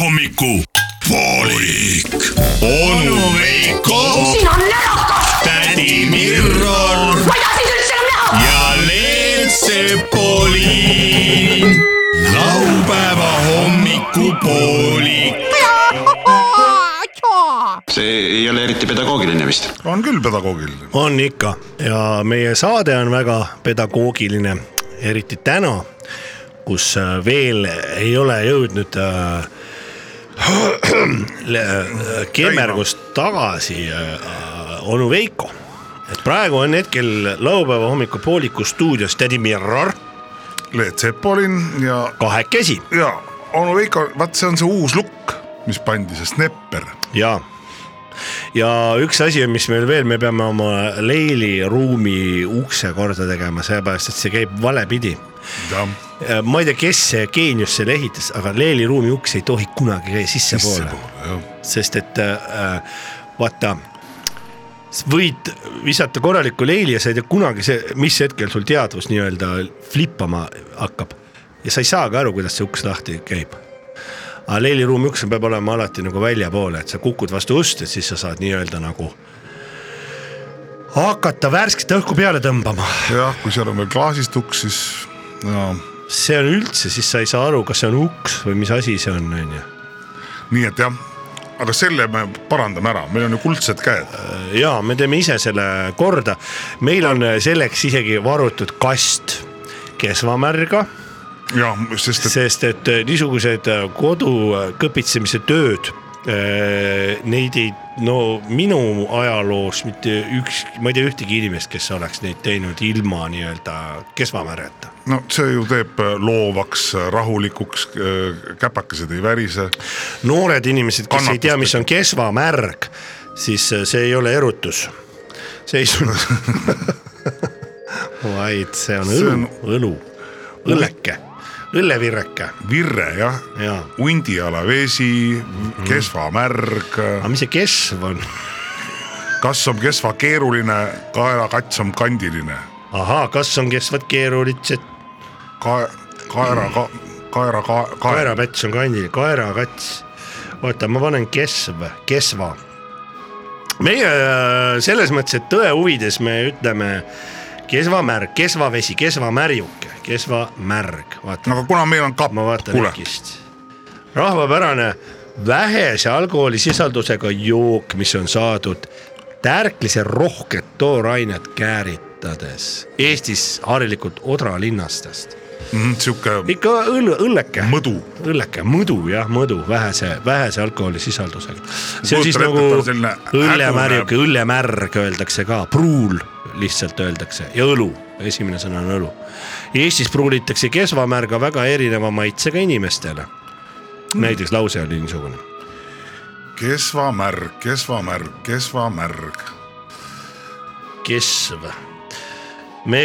hommiku poolik . onu Veiko , siin on närakas , tädi Mirror ma ei taha sind üldse enam näha . ja Leelsepoliin . laupäeva hommikupoolik . see ei ole eriti pedagoogiline vist . on küll pedagoogiline . on ikka ja meie saade on väga pedagoogiline , eriti täna , kus äh, veel ei ole jõudnud äh, le- kemmergust tagasi äh, onu Veiko . et praegu on hetkel laupäeva hommikupooliku stuudios tädi Mirror Leet Sepolin ja , kahekesi ja onu Veiko , vaat see on see uus lukk , mis pandi , see snepper . ja , ja üks asi , mis meil veel , me peame oma leili ruumi ukse korda tegema , sellepärast et see käib valepidi . jah , ma ei tea , kes see geenius selle ehitas , aga leili ruumi uks ei tohi kunagi käia sissepoole , sissepoole jah . sest et äh, vaata s- võid visata korraliku leili ja sa ei tea kunagi see , mis hetkel sul teadvus nii-öelda flippama hakkab ja sa ei saagi aru , kuidas see uks lahti käib aga leiliruumi uks peab olema alati nagu väljapoole , et sa kukud vastu ust ja siis sa saad nii-öelda nagu hakata värsket õhku peale tõmbama . jah , kui seal on veel klaasist uks , siis ja see on üldse , siis sa ei saa aru , kas see on uks või mis asi see on , onju . nii et jah , aga selle me parandame ära , meil on ju kuldsed käed . ja me teeme ise selle korda . meil on selleks isegi varutud kast kesvamärga , jah , sest et sest et äh, niisugused kodukõpitsemise tööd , neid ei , no minu ajaloos mitte üks , ma ei tea ühtegi inimest , kes oleks neid teinud ilma nii-öelda kesvamärjata . no see ju teeb loovaks , rahulikuks , käpakesed ei värise . noored inimesed , kes ei tea , mis Kannatustega. on kesvamärg , siis äh, see ei ole erutus , seisund , vaid see on See õlu on- , õlu , õlleke , õllevirreke virre jah , ja , hundiala vesi , kesva märg , aga mis see kesv on ? kas on kesva keeruline , kaelakats on kandiline , ahaa , kas on kesvad keerulitsed , kae- , kaera ka, , kaera ka, , kaera , kaerapäts on kandi , kaerakats . oota , ma panen kesv , kesva . meie äh, selles mõttes , et tõe huvides me ütleme kesvamärg , kesvavesi , kesvamärjuke , kesvamärg , vaata , aga kuna meil on kapp ma , vaatan kuule , äkist . rahvapärane vähese alkoholisisaldusega jook , mis on saadud tärklise rohket toorainet kääritades Eestis harilikult Odra linnastest . Mhm, sihuke ikka õll , õlleke mõdu . õlleke , mõdu jah , mõdu vähese , vähese alkoholisisaldusega . see on siis Kujutan ette, nagu et on selline õllemärg , õllemärg öeldakse ka , pruul lihtsalt öeldakse ja õlu , esimene sõna on õlu . Eestis pruulitakse kesvamärga väga erineva maitsega inimestele . näiteks lause oli niisugune . kesva märg , kesva märg , kesva märg , kesv . me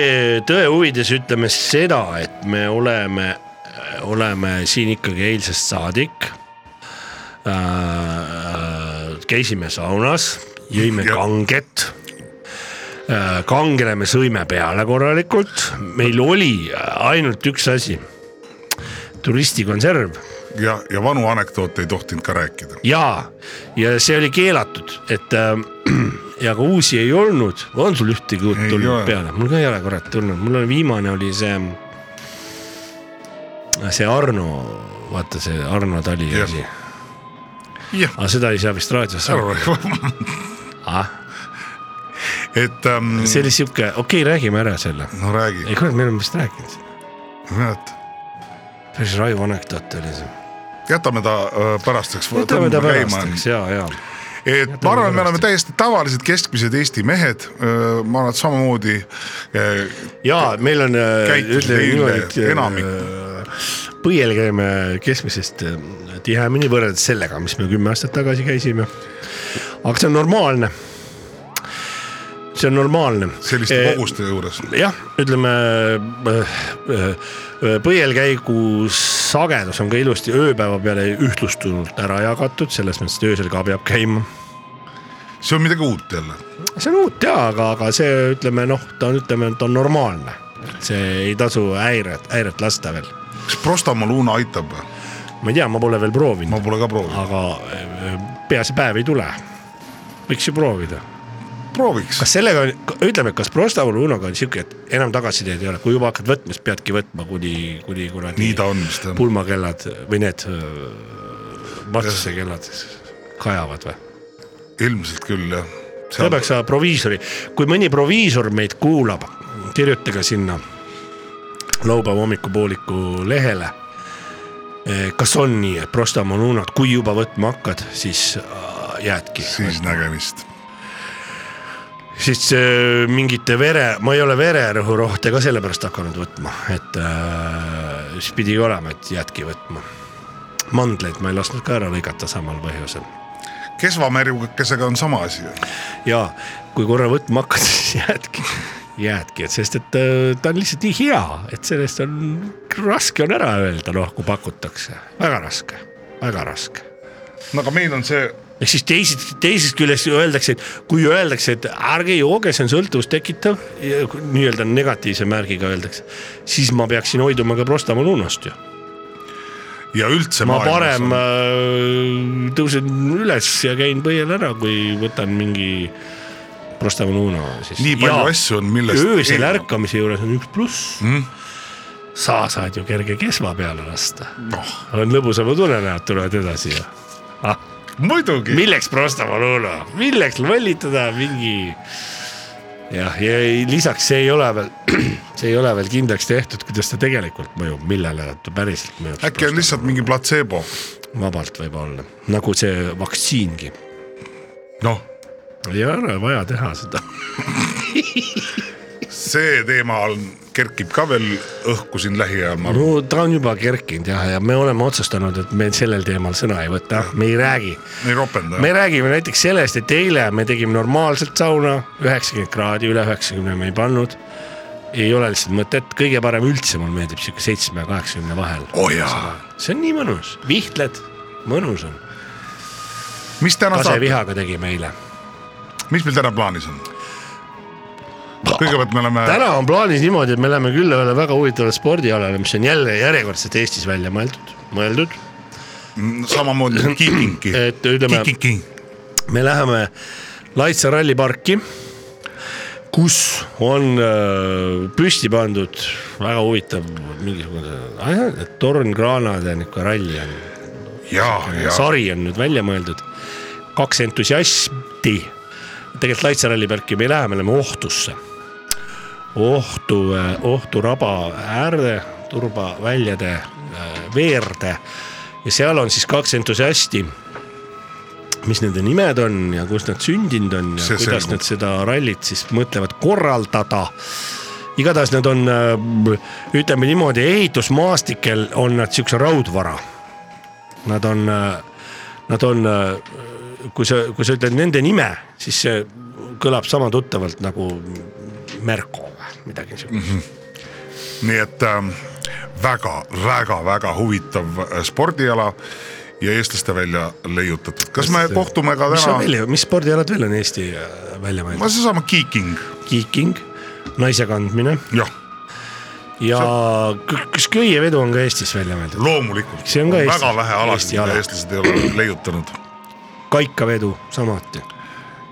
tõe huvides ütleme seda , et me oleme , oleme siin ikkagi eilsest saadik äh, . käisime saunas , jõime Ja- kanget äh, kangele me sõime peale korralikult , meil oli ainult üks asi , turistikonserv ja , ja vanu anekdoote ei tohtinud ka rääkida . ja , ja see oli keelatud , et äh, ja ka uusi ei olnud , on sul ühtegi uut Ei tulnud ole. peale , mul ka ei ole kurat tulnud , mul on viimane oli see . see Arno , vaata see Arno Tali Jah. asi , jah , aga seda ei saa vist raadios ära saada . räägi , et ähm, see oli sihuke , okei okay, , räägime ära selle . no räägi ei , kurat , me oleme vist rääkinud , mäletad päris raju anekdoot oli see . jätame ta äh, pärasteks . võtame ta pärastaks ja , ja et ma arvan , et me oleme täiesti tavalised keskmised Eesti mehed , ma arvan , et samamoodi . äh, ja meil on . äh, Käitus eile enamik. . põiel äh, käime keskmisest äh, tihemini võrreldes sellega , mis me kümme aastat tagasi käisime . aga see on normaalne . see on normaalne . selliste Äh, eh, koguste juures , jah , ütleme äh, äh, põielkäigu sagedus on ka ilusti ööpäeva peale ühtlustunult ära jagatud , selles mõttes , et öösel ka peab käima . see on midagi uut jälle . see on uut jaa , aga , aga see ütleme noh , ta on , ütleme , ta on normaalne . see ei tasu häiret , häiret lasta veel kas Prostamaa luuna aitab või ? ma ei tea , ma pole veel proovinud ma , pole ka proovinud . aga äh, peaasi päev ei tule . võiks ju proovida . prooviks . kas sellega , ütleme , kas Prostavalu Unoga on siuke , et enam tagasiteed ei ole , kui juba hakkad võtma , siis peadki võtma kuni , kuni kuradi . nii ta on vist jah . pulmakellad või need eh, äh, matšisse kellad siis kajavad või ? ilmselt küll jah . see peaks olema proviisori , kui mõni proviisor meid kuulab , kirjutage sinna laupäeva hommikupooliku lehele . kas on nii , et prostamonuunad , kui juba võtma hakkad , siis äh, jäädki , siis nägemist . siis äh, mingite vere , ma ei ole vererõhurohte ka sellepärast hakanud võtma , et äh, siis pidigi olema , et jäädki võtma . mandleid ma ei lasknud ka ära lõigata samal põhjusel kesvamärjukesega on sama asi . ja kui korra võtma hakkad , siis jäädki , jäädki , et sest , et äh, ta on lihtsalt nii hea , et sellest on raske on ära öelda , noh kui pakutakse , väga raske , väga raske . no aga meil on see , ehk siis teisest , teisest küljest ju öeldakse , et kui öeldakse , et ärge jooge , see on sõltuvust tekitav , nii-öelda negatiivse märgiga öeldakse , siis ma peaksin hoiduma ka prostamoluunast ju . ja üldse ma maailmas parem on- äh, tõusen üles ja käin põiel ära , kui võtan mingi prostamoluuna siis . nii palju asju on , millest . öösel . ärkamise juures on üks pluss mm. . sa saad ju kerge kesva peale lasta noh , on lõbusama tunne näha , et tulevad edasi ja ah, . muidugi . milleks prostama luula , milleks lollitada mingi . jah , ja ei- lisaks see ei ole veel , see ei ole veel kindlaks tehtud , kuidas ta tegelikult mõjub , millele ta päriselt mõjub . äkki on lihtsalt mingi platseebo , vabalt võib-olla , nagu see vaktsiingi . noh , ei ole vaja teha seda . see teema on , kerkib ka veel õhku siin lähiajal , ma arvan . no ta on juba kerkinud jah , ja me oleme otsustanud , et me sellel teemal sõna ei võta , me ei räägi ei ropenda . me räägime näiteks sellest , et eile me tegime normaalselt sauna , üheksakümmend kraadi , üle üheksakümne me ei pannud . ei ole lihtsalt mõtet , kõige parem üldse mulle meeldib sihuke seitsme ja kaheksakümne vahel . oo Oh jaa , see on nii mõnus , vihtled , mõnus on . mis täna saab , kasevihaga tegime eile . mis meil täna plaanis on ? kõigepealt me oleme , täna on plaanis niimoodi , et me läheme külla ühele väga huvitavale spordialale , mis on jälle järjekordselt Eestis välja mõeldud , mõeldud . samamoodi kikinki , et ütleme , kikinki , me läheme Laitsa ralliparki , kus on öö, püsti pandud väga huvitav mingisugune ah tornkraanade niisugune ralli on , jaa , jaa , Äh, sari on nüüd välja mõeldud . kaks entusiasti , tegelikult Laitsa ralliparki me ei lähe , me läheme Ohtusse . Ohtu , Ohtu raba äärde , turba väljade öö, veerde ja seal on siis kaks entusiasti mis nende nimed on ja kus nad sündinud on ja See see kuidas selgub. nad seda rallit siis mõtlevad korraldada . igatahes nad on , ütleme niimoodi , ehitusmaastikel on nad siukse raudvara . Nad on , nad on , kui sa , kui sa ütled nende nime , siis see kõlab sama tuttavalt nagu Merko või midagi siukest . nii et ähm, väga , väga , väga huvitav äh, spordiala ja eestlaste välja leiutatud . kas me kohtume ka mis on täna ? veel , mis spordialad veel on Eesti äh, välja mõeldud ? seesama kiking , kiiking , naise kandmine jah , ja k- kas köievedu on ka Eestis välja mõeldud ? loomulikult . See on ka Eesti- väga vähe alasid , Eesti ala. mida eestlased ei ole leiutanud , kaikavedu samuti .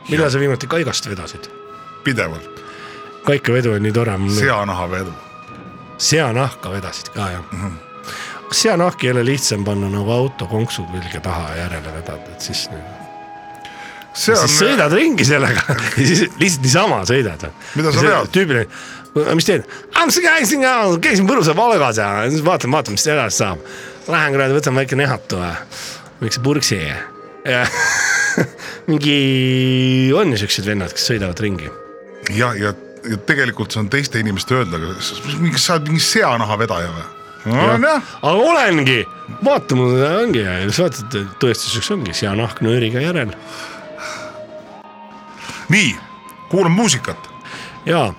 millal sa viimati kaigast vedasid ? pidevalt . kaikavedu on nii tore . seanahavedu , seanahka vedasid ka jah mm -hmm. ? kas seanahki ei ole lihtsam panna nagu auto konksu külge taha ja järele vedada , et siis nagu... . see siis on , sõidad ringi sellega ja siis lihtsalt niisama sõidad . Mida sa vead? tüüpiline , mis teed ? käisin , käisin Võrus ja Valgas ja siis vaatan , vaatan , mis edasi saab . Lähen kuradi , võtan väike nehatu ja väikse purksi ja mingi , on ju siuksed vennad , kes sõidavad ringi jah , ja , ja tegelikult see on teiste inimeste öelda , kas sa oled mingi seanahavedaja või ? no noh, aga jah , olengi , vaata mul seda ongi ja siis vaatad , et tõestuseks ongi seanahk nööriga järel nii , kuulame muusikat ja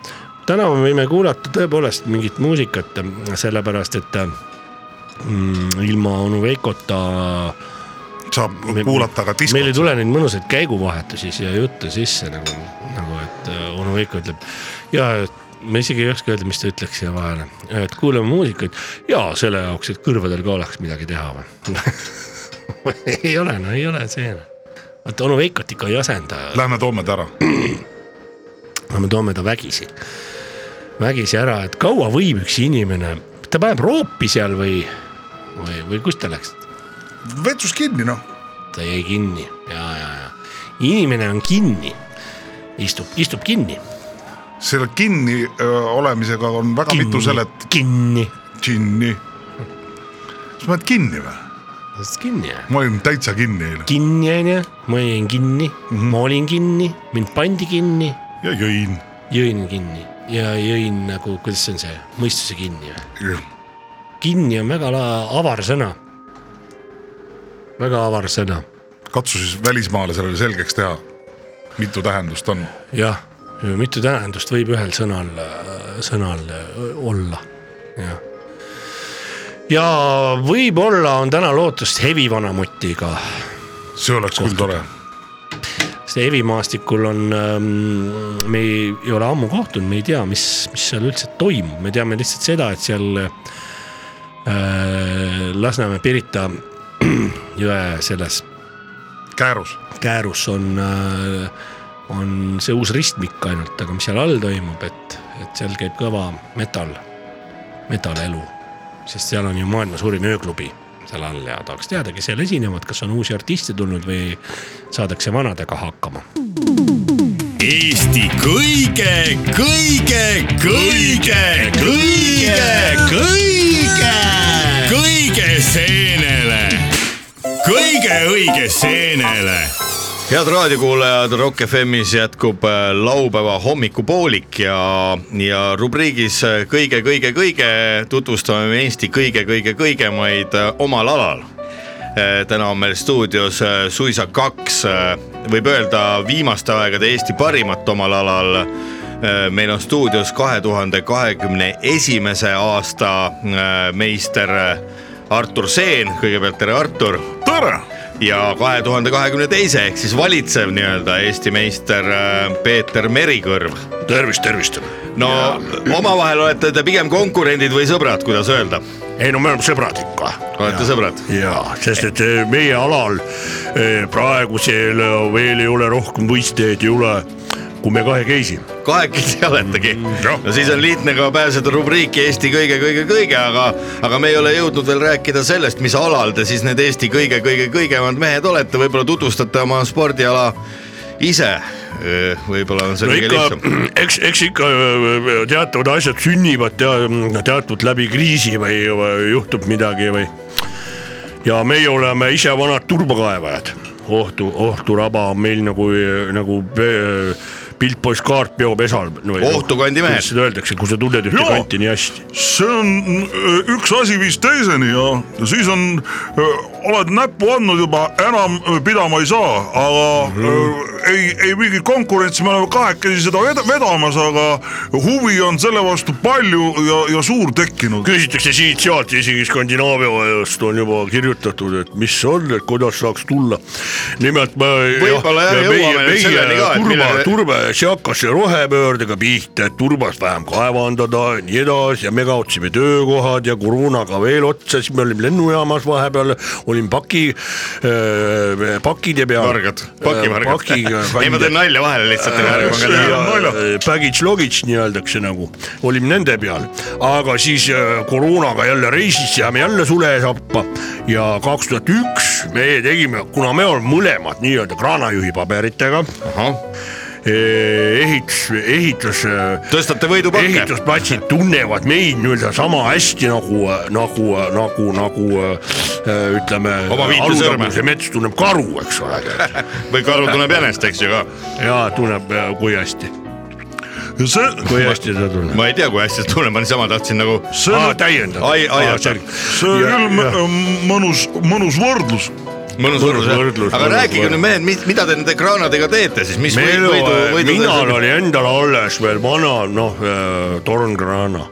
täna me võime kuulata tõepoolest mingit muusikat , sellepärast et mm, ilma onu Veikota saab me- kuulata ka diskot meil ei tule neid mõnusaid käiguvahetusi siia juttu sisse nagu , nagu et äh, onu Veiko ütleb ja et ma isegi ei oska öelda , mis ta ütleks siia vahele , et kuulame muusikat ja selle jaoks , et kõrvadel ka oleks midagi teha või ? ei ole , no ei ole see . vaata onu Veikot ikka ei asenda , Lähme toome ta ära . me toome ta vägisi , vägisi ära , et kaua võib üks inimene , ta paneb roopi seal või , või , või kus ta läks ? vetsus kinni noh , ta jäi kinni ja , ja , ja inimene on kinni , istub , istub kinni . selle kinni öö, olemisega on väga kinni. mitu selet . kinni , kinni . kas ma olen kinni või ? kinni jah . ma olin täitsa kinni eile kinni onju , ma jäin kinni mm , Mhm. -hmm. ma olin kinni , mind pandi kinni , ja jõin . jõin kinni ja jõin nagu , kuidas see on see , mõistuse kinni või ? kinni on väga la- avar sõna . väga avar sõna , katsu siis välismaale sellele selgeks teha , mitu tähendust on . jah , mitu tähendust võib ühel sõnal , sõnal öö, olla , jah ja võib-olla on täna lootust hevivanamutiga , see oleks küll tore . sest hevimaastikul on , me ei, ei ole ammu kohtunud , me ei tea , mis , mis seal üldse toimub , me teame lihtsalt seda , et seal äh, Lasnamäe Pirita jõe selles käärus , käärus on , on see uus ristmik ainult , aga mis seal all toimub , et , et seal käib kõva metal , metalelu , sest seal on ju maailma suurim ööklubi seal all ja tahaks teada , kes seal esinevad , kas on uusi artiste tulnud või saadakse vanadega hakkama Eesti kõige , kõige , kõige , kõige , kõige , kõige seenele , kõige õige seenele head raadiokuulajad , Rock FM-is jätkub äh, laupäeva hommikupoolik ja , ja rubriigis äh, kõige-kõige-kõige tutvustame me Eesti kõige-kõige-kõigemaid äh, omal alal . täna on meil stuudios äh, suisa kaks , võib öelda viimaste aegade Eesti parimat omal alal . meil on stuudios kahe tuhande kahekümne esimese aasta äh, meister äh, Artur Seen , kõigepealt tere , Artur tere , ja kahe tuhande kahekümne teise ehk siis valitsev nii-öelda Eesti meister äh, Peeter Merikõrv . tervist , tervist . no omavahel olete te pigem konkurendid või sõbrad , kuidas öelda , ei no me oleme sõbrad ikka . olete ja. sõbrad ? jaa , sest et eh, meie alal eh, praegusel eh, veel ei ole rohkem võistlejaid ei ole , kui me kahekesi . kahekesi oletegi Mm, jah. . no siis on lihtne ka pääseda rubriiki Eesti kõige-kõige-kõige , aga , aga me ei ole jõudnud veel rääkida sellest , mis alal te siis need Eesti kõige-kõige-kõigemad mehed olete , võib-olla tutvustate oma spordiala ise . võib-olla on see no kõige ikka lihtsam ., eks , eks ikka eh, teatavad asjad sünnivad tea- , teatud läbi kriisi või, või juhtub midagi või . ja meie oleme ise vanad turbakaevajad , ohtu , ohturaba on meil nagu , nagu eh, Piltpoiss kaart peopesal . Ohtukandi mehed. noh, kuidas seda öeldakse , kui sa tunned ühte Joo. kanti nii hästi . see on öö, üks asi viis teiseni ja ja siis on , oled näppu andnud juba , enam öö, pidama ei saa , aga Mhm. öö, ei , ei mingi konkurents , me oleme kahekesi seda ved- vedamas , aga huvi on selle vastu palju ja , ja suur tekkinud . küsitakse siit-sealt , isegi Skandinaavia ajast on juba kirjutatud , et mis on , et kuidas saaks tulla . nimelt me . Võib-olla jah, jõuame nüüd selleni ka, et turba , millele- turbe , see hakkas rohepöördega pihta , et turbast vähem kaevandada ja nii edasi ja me kaotasime töökohad ja koroonaga veel otsa , siis me olime lennujaamas vahepeal , olin paki , pakide peal . vargad , pakivargad . ei , ma teen nalja vahele lihtsalt , ärge Äh, pange tähele ja, . äh, baggage luggage nii-öeldakse nagu , olime nende peal , aga siis äh, koroonaga jälle reisisse jääme jälle sulesappa ja kaks tuhat üks me tegime , kuna me oleme mõlemad nii-öelda kraanajuhi paberitega , ehitus , ehitus , tõstate võidupakke . ehitusplatsid tunnevad meid nii-öelda sama hästi nagu , nagu , nagu , nagu äh, ütleme . Oma viitesõrme. mets tunneb karu , eks ole , või karu tuleb jänest , eks ju ka . ja tunneb , kui hästi , see , kui hästi ta tunneb . ma ei tea , kui hästi see tunneb , ma niisama tahtsin nagu . see aa , on , täiendab . Ai- ai- see on küll ja, m- mõnus , mõnus võrdlus Mõnus mõnus võrdlus võrdlus, , aga mõnus rääkige võrdlus. äh, nüüd mehed , mis , mida te nende kraanadega teete siis , mis meil võidu , võidu , minal võidu ? oli endal alles veel vana , noh , äh, tornkraana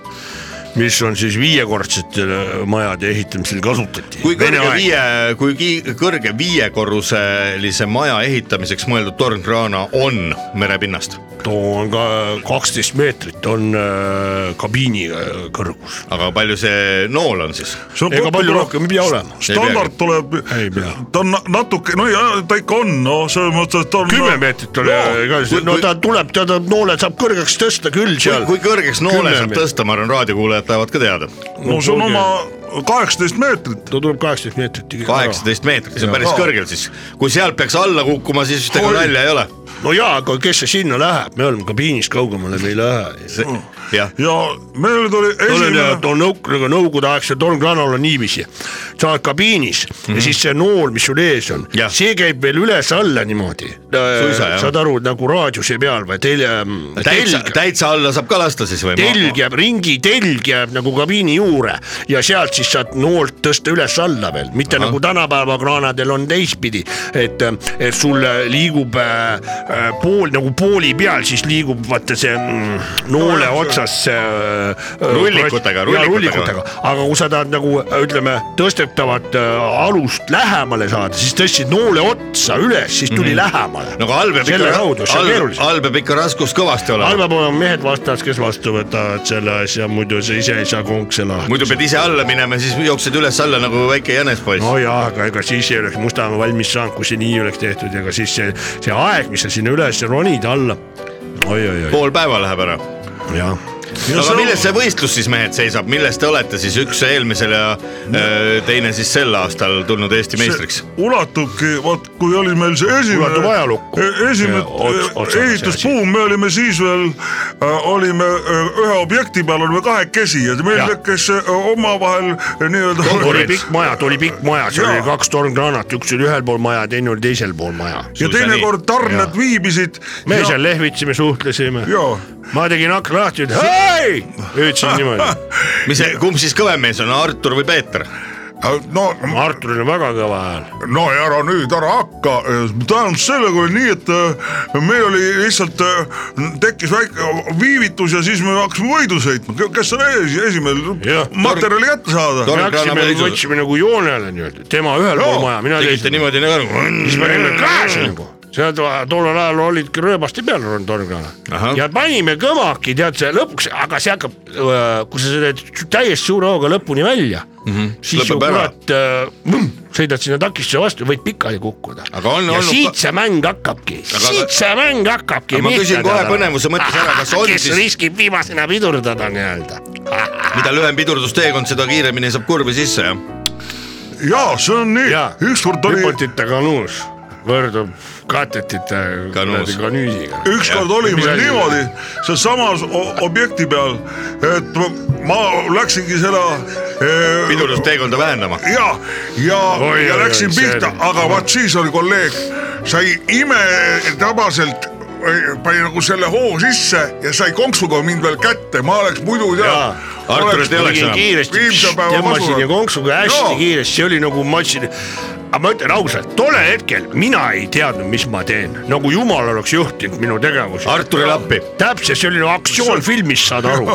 mis on siis viiekordsete majade ehitamisel kasutati . kui kõrge viie , kui ki- kõrge viiekorruselise maja ehitamiseks mõeldud tornkraana on merepinnast , too on ka äh, kaksteist meetrit on äh, kabiini äh, kõrgus . aga palju see nool on siis ? see on ega kokku palju tuleb- rohkem ei pea olema . standard tuleb Ei pea. , ta on na- natuke , no ja ta ikka on , noh , selles mõttes , et ta on . kümme meetrit oli No, no, kui- , no kui- ta tuleb , ta ta- noole saab kõrgeks tõsta küll kui, seal . kui kõrgeks noole Kümme saab meetrit. tõsta , ma arvan , raadiokuulajad tahavad ka teada . no see on oma kaheksateist meetrit . ta tuleb kaheksateist meetrit . kaheksateist meetrit , see on päris kõrgel siis , kui sealt peaks alla kukkuma , siis tegu nalja ei ole . no jaa , aga kes see sinna läheb , me oleme kabiinis , kaugemale me ei lähe . jah , ja meil tuli olen esimene , too nagu nõukogude , nõukogudeaegsel tornkranal on niiviisi , sa oled kabiinis mm -hmm. ja siis see nool , mis sul ees on Jah. , see käib veel üles-alla niimoodi . Suisa, jah. saad aru , nagu raadiuse peal või telje , täitsa , telg , täitsa alla saab ka lasta siis või ? telg jääb , ringi telg jääb nagu kabiini juurde ja sealt siis saad noolt tõsta üles-alla veel , mitte Aha. nagu tänapäeva kraanadel on teistpidi , et , et sul liigub äh, äh, pool nagu pooli peal , siis liigub vaata see mm, noole otsas see äh, Rullikutega, ja, rullikutega. rullikutega , aga kui sa tahad nagu äh, ütleme , tõstetavat äh, alust lähemale saada , siis tõstsid noole otsa üles , siis tuli mm -hmm. lähemale . Mhm. no aga all peab selle ikka kaudu , see on , keerulisem all peab ikka raskus kõvasti olema . halba poole on mehed vastas , kes vastu võtavad selle asja , muidu sa ise ei saa konkse lahti . muidu pead ise alla minema , siis jooksed üles-alla nagu väike jänespoiss no jaa , aga ega siis ei oleks Mustamäe valmis saanud , kui see nii oleks tehtud , ega siis see , see aeg , mis sa sinna üles ronid alla . oi-oi-oi , pool päeva läheb ära . jah . aga milles see võistlus siis mehed seisab , milles te olete siis üks eelmisel ja öö, teine siis sel aastal tulnud Eesti meistriks ? ulatubki , vot kui oli meil see esimene Ulatub ajalukku. e- esimene Ja ots- e- otsaga see ehitusbuum , me olime siis veel , olime äh, ühe objekti peal olime kahekesi ja meil Jah. tekkis äh, omavahel oli nii-öelda . pikk maja , tuli pikk maja , seal Jaa. oli kaks tornkranat , üks oli ühel pool maja , teine oli teisel pool maja . ja teinekord tarned viibisid . me seal lehvitsime , suhtlesime . Jaa. ma tegin akna lahti , ütlesin hei , ütlesin niimoodi . mis , kumb siis kõvem mees on , Artur või Peeter ? Äh, no Arturil on väga kõva hääl . no ja ära nüüd , ära hakka , tähendab sellega oli nii , et äh, meil oli lihtsalt , tekkis väike viivitus ja siis me hakkasime võidu sõitma , kes on ees , esimene Jah. , materjali kätte saada . Tor- läksime , võtsime nagu joonele nii-öelda , tema ühel pool Joo, maja , mina teisel tegite . niimoodi nagu . siis panime gaasi Mm. nagu , seal to- tollel ajal olidki rööbaste peal olnud tornkranad Ahah. ja panime kõvaki , tead see lõpuks , aga see hakkab , kui sa selle t- täiesti suure hooga lõpuni välja mm , -hmm. siis ju Mhm. Lõpeb ära. kurat äh, võmm, sõidad sinna takistuse vastu , võid pikali kukkuda . Aga on ja olnud siit ka- see mäng hakkabki , Aga- siit see mäng hakkabki . Aga ma küsin kohe põnevuse mõttes ära, kas on kes siis- riskib viimasena pidurdada nii-öelda . mida lühem pidurdusteekond , seda kiiremini saab kurvi sisse , jah ? ja see on nii , ükskord oli , hüpotite kanuus võrdub katetite Kanuus. kuradi kanüüsiga ükskord oli Mis meil asi? niimoodi , sealsamas o- objekti peal , et ma- ma läksingi seda eh, pidurdusteekonda vähendama . ja , ja Oi, , ja oi, läksin oi, see pihta oli- , aga vaat siis oli kolleeg , sai imetabaselt , pani nagu selle hoo sisse ja sai konksuga mind veel kätte , ma oleks muidu tead Jaa, . Arturit ei oleks tegin enam . kiiresti , viimse päeva tõmbasin masu- ja konksuga hästi Joo. kiiresti , see oli nagu ma ütlesin , aga ma ütlen ausalt , tollel hetkel mina ei teadnud , mis ma teen , nagu jumal oleks juhtinud minu tegevusi . Arturile appi . täpselt , see oli nagu aktsioon filmis , saad aru ,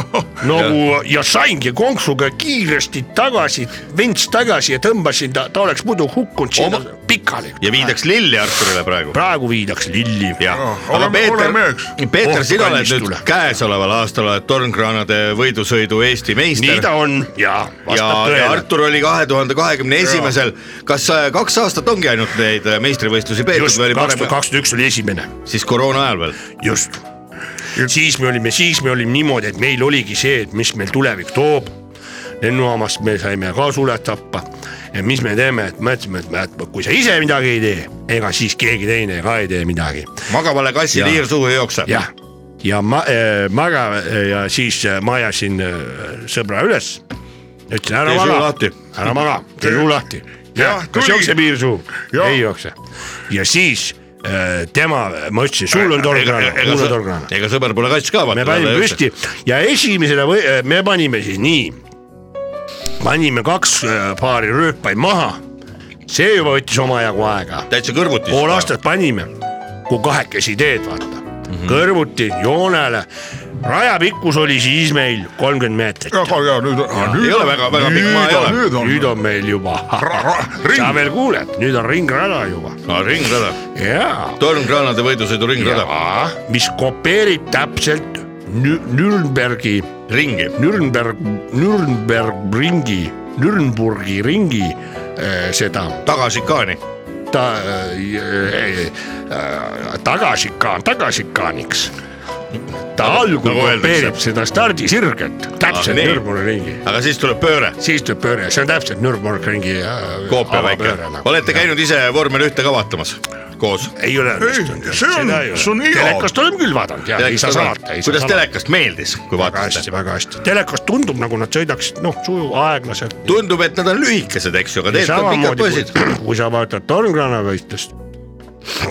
nagu ja saingi konksuga kiiresti tagasi , vints tagasi ja tõmbasin ta , ta oleks muidu hukkunud sinna Oma- pikali . ja viidaks lilli Arturile praegu . praegu viidaks lilli . jah , aga oleme- Peeter oleme meheks. , Peeter , Oh, sina oled kallis nüüd tule. käesoleval aastal oled Tornkranade võidusõidu Eesti nii meister ta on ja ja vastab , ja tõele . Artur oli kahe tuhande kahekümne esimesel . kas äh, kaks aastat ongi ainult neid äh, meistrivõistlusi peetud just , või oli kaks parem tuhat kaks tuhat üks oli esimene siis koroona ajal veel ? just . siis me olime , siis me olime niimoodi , et meil oligi see , et mis meil tulevik toob . lennujaamast me saime ka suled tappa ja mis me teeme , et mõtlesime , et me- et kui sa ise midagi ei tee , ega siis keegi teine ka ei tee midagi . magavale kassile Jaa. hiir suhu ei jookse . jah , ja ma äh, , maga ja siis äh, ma ajasin äh, sõbra üles . ütlesin ära Tee suu maga lahti. , ära maga , tee suu lahti . Jah, kas tuli. jookseb hiir suhu ? Jah. ei jookse . ja siis äh, tema , ma ütlesin , sul on torgrana , mul on torgrana . ega sõber pole kass ka . me panime püsti ja esimesena või me panime siis nii . panime kaks äh, paari rööpaid maha . see juba võttis omajagu aega , täitsa kõrvutis . Mhm. pool aastat panime , kui kahekesi teed vaata mm , -hmm. kõrvuti joonele rajapikkus oli siis meil kolmkümmend meetrit , ja , ja nüüd , nüüd ei ole väga- väga pikk maa ei ole. nüüd on , nüüd on meil juba , ring sa , veel kuuled , nüüd on ringrada juba ringrada , ja , tormkraanade võidusõidu ringrada , mis kopeerib täpselt Nü- Nürnbergi , ringi . Nürnberg , Nürnberg ringi , Nürnburgi ringi eh, seda tagasi kaani , ta äh, äh, tagasikaan , tagasikaaniks . ta algul nagu öeldakse. Ah, kopeerib seda stardisirget , täpselt nii. Nürnbergi ringi , aga siis tuleb pööre , siis tuleb pööre , see on täpselt Nürnbergi ringi äh, koopia väike . olete ? käinud ise vormel ühte ka vaatamas koos ? ei ole õnnestunud see on- see on hea. telekast olen küll vaadanud ja ei saa salata , ei saa kuidas salata . telekast meeldis , kui väga vaatasite hästi ,? väga hästi , telekas tundub nagu nad sõidaksid noh , sujuv , aeglaselt . tundub , et nad on lühikesed , eks ju , aga tegelikult on pikad samamoodi poisid . kui , kui sa vaatad Tormkrana võistlust ,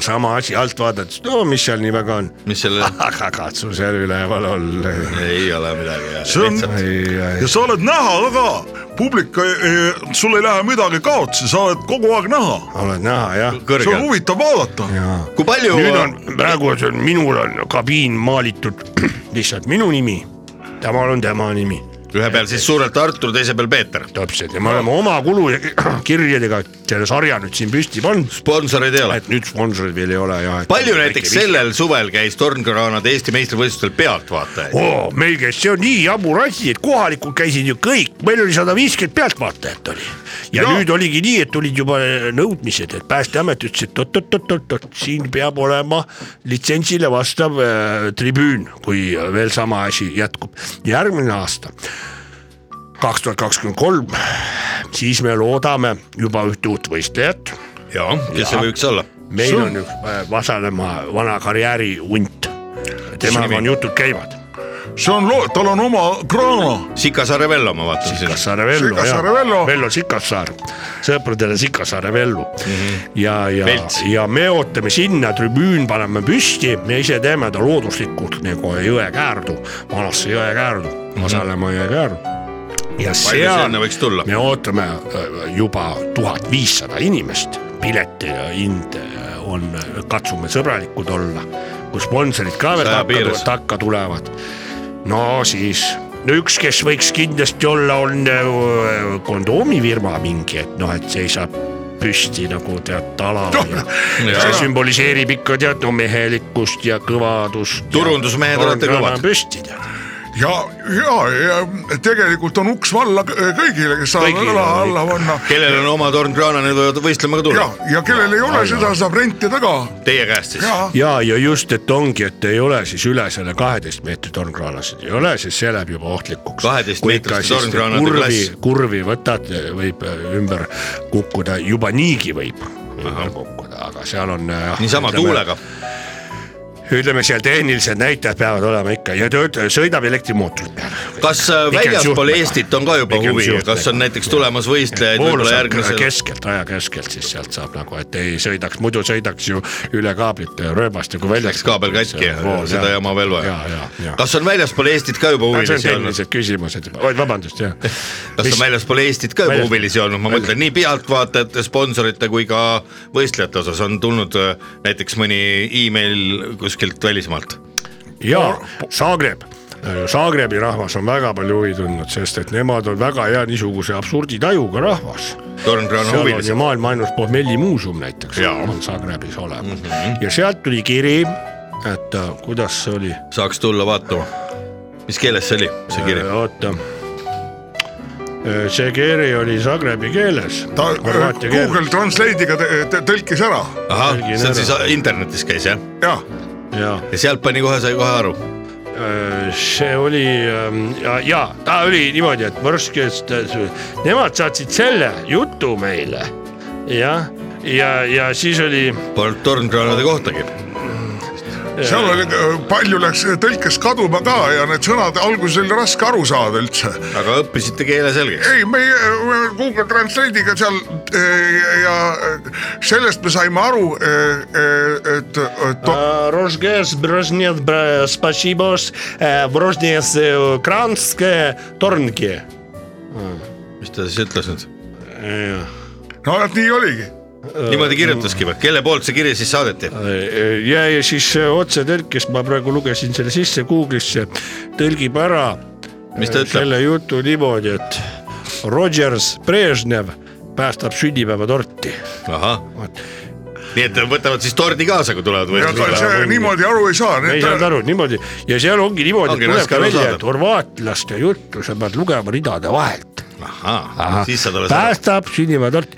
sama asi alt vaadates , no mis seal nii väga on mis selle , aga katsu seal üleval olla . ei ole midagi . See on- ja sa oled näha ka , publik , sul ei lähe midagi kaotsi , sa oled kogu aeg näha , oled näha jah . see on kõrge . huvitav vaadata . kui palju nüüd on , praegu on see , minul on kabiin maalitud lihtsalt minu nimi , temal on tema nimi ühe peal siis suurelt Artur , teise peal Peeter . täpselt ja me oleme oma kulu kirjadega selle sarja nüüd siin püsti pannud , sponsoreid ei ole . et nüüd sponsorid veel ei ole ja . palju näiteks ? sellel suvel käis Tornkraanade Eesti meistrivõistlustel pealtvaatajaid ? oo , meil käis , see on nii jabur asi , et kohalikud käisid ju kõik , meil oli sada viiskümmend pealtvaatajat oli . ja no. nüüd oligi nii , et tulid juba äh, nõudmised , et päästeamet ütles , et oot-oot-oot-oot , siin peab olema litsentsile vastav äh, tribüün , kui äh, veel sama asi jätkub . järgmine aasta , kaks tuhat kakskümmend kolm , siis me loodame juba ühte uut võistlejat jaa , kes see võiks olla ? meil on üks äh, Vasalemma vana karjäärihunt , temaga on jutud käivad . see on loo- , tal on oma kraana , Sikasaare Vello ma vaatasin siin . Sikassaare Vello , Sikassaare Vello. Vello Sikassaar , sõpradele Sikassaare Vello mm . -hmm. ja , ja Velts. , ja me ootame sinna , tribüün paneme püsti , me ise teeme ta looduslikult nagu jõekäärdu , vanasse jõekäärdu , Vasalemma jõekäärdu . ja palju seal sinna võiks tulla ? me ootame äh, juba tuhat viissada inimest , piletihind äh, on , katsume sõbralikud olla , kui sponsorid ka veel Saja takka, piires. takka tulevad . no siis , no üks , kes võiks kindlasti olla , on äh, kondoomifirma mingi , et noh , et seisab püsti nagu tead talav ja see sümboliseerib ikka tead no mehelikkust ja kõvadust . Turundusmehed olete kõvad. püsti tead . ja , ja , ja tegelikult on uks valla kõ- kõigile , kes saavad Kõigile õla on alla panna kellel on oma Tornkraana , need võivad võistlema ka ja tulla ., ja kellel ei ole , seda saab rentida ka . Teie käest siis ? ja , ja , ja just , et ongi , et ei ole siis üle selle kaheteist meetri tornkraanasid ei ole , siis see läheb juba ohtlikuks . 12 meetriste tornkraanade kurvi klass. , kurvi võtad , võib äh, ümber kukkuda , juba niigi võib ümber kukkuda , aga seal on . niisama tuulega . ütleme seal tehnilised näitajad peavad olema ikka ja töötaja sõidab elektrimootori peal . kas äh, Pigem väljaspool suhtmega. Eestit on ka juba Pigem huvi , suhtmega. kas on näiteks tulemas võistlejaid võib-olla järgmisel ? keskelt , aja keskelt , siis sealt saab nagu , et ei sõidaks , muidu sõidaks ju üle kaablit ja rööbast ja kui välja . Läks kaabel katki ja seda jama veel vaja. kas on väljaspool Eestit ka juba Aga see on huvilisi olnud ? tehnilised küsimused , oi vabandust jah . kas on väljaspool Eestit ka juba Väljas- huvilisi olnud , ma mõtlen nii pealtvaatajate , sponsorite kui ka võistlejate osas on tulnud äh, näiteks mõni email kuskilt välismaalt . ja Zagreb , Zagrebi rahvas on väga palju huvi tundnud , sest et nemad on väga hea niisuguse absurditajuga rahvas . Tornkraana seal on ju huvilisi . maailma ainus Pohmelli muuseum näiteks on Zagrebis olemas mm Mhm. -hmm. ja sealt tuli kiri , et äh, kuidas see oli , saaks tulla vaatama . mis keeles see oli , see kiri ? Äh, oota . see kiri oli Zagrebi keeles . ta äh, Google Translate'iga te- te- tõlkis ära ahah , Jälgin see ära. on siis internetis käis jah , jah , jaa ja sealt pani kohe , sai kohe aru . Äh, see oli ähm, ja, ja ta oli niimoodi , et Värskest , nemad saatsid selle jutu meile jah , ja , ja, ja siis oli Polnud tornkraanade kohtagi . seal oli , palju läks tõlkes kaduma ka ja need sõnad alguses oli raske aru saada üldse . aga õppisite keele selgeks . ei , meie me Google Translate'iga seal eh, ja eh, sellest me saime aru , et, et to- äh, Rožges , Brožnev , Spasiboš , Brožnes , Kransk , Tornki . mis ta siis ütles nüüd ? Äh. no vot nii oligi . niimoodi kirjutaski või , kelle poolt see kiri siis saadeti ? Äh, ja , ja siis otsetõlkes ma praegu lugesin selle sisse Google'isse , tõlgib ära Mis ta ütleb? selle jutu niimoodi , et Rogers Brežnev päästab sünnipäevatorti . ahah , nii et võtavad siis tordi kaasa , kui tulevad see võistlusele . niimoodi aru ei saa . ei saanud aru niimoodi ja seal ongi niimoodi , Ongi et tuleb raske ka aru välja , saada. et horvaatlaste juttu sa pead lugema ridade vahelt . ahah , siis saad alles aru . päästab sünnipäevatort .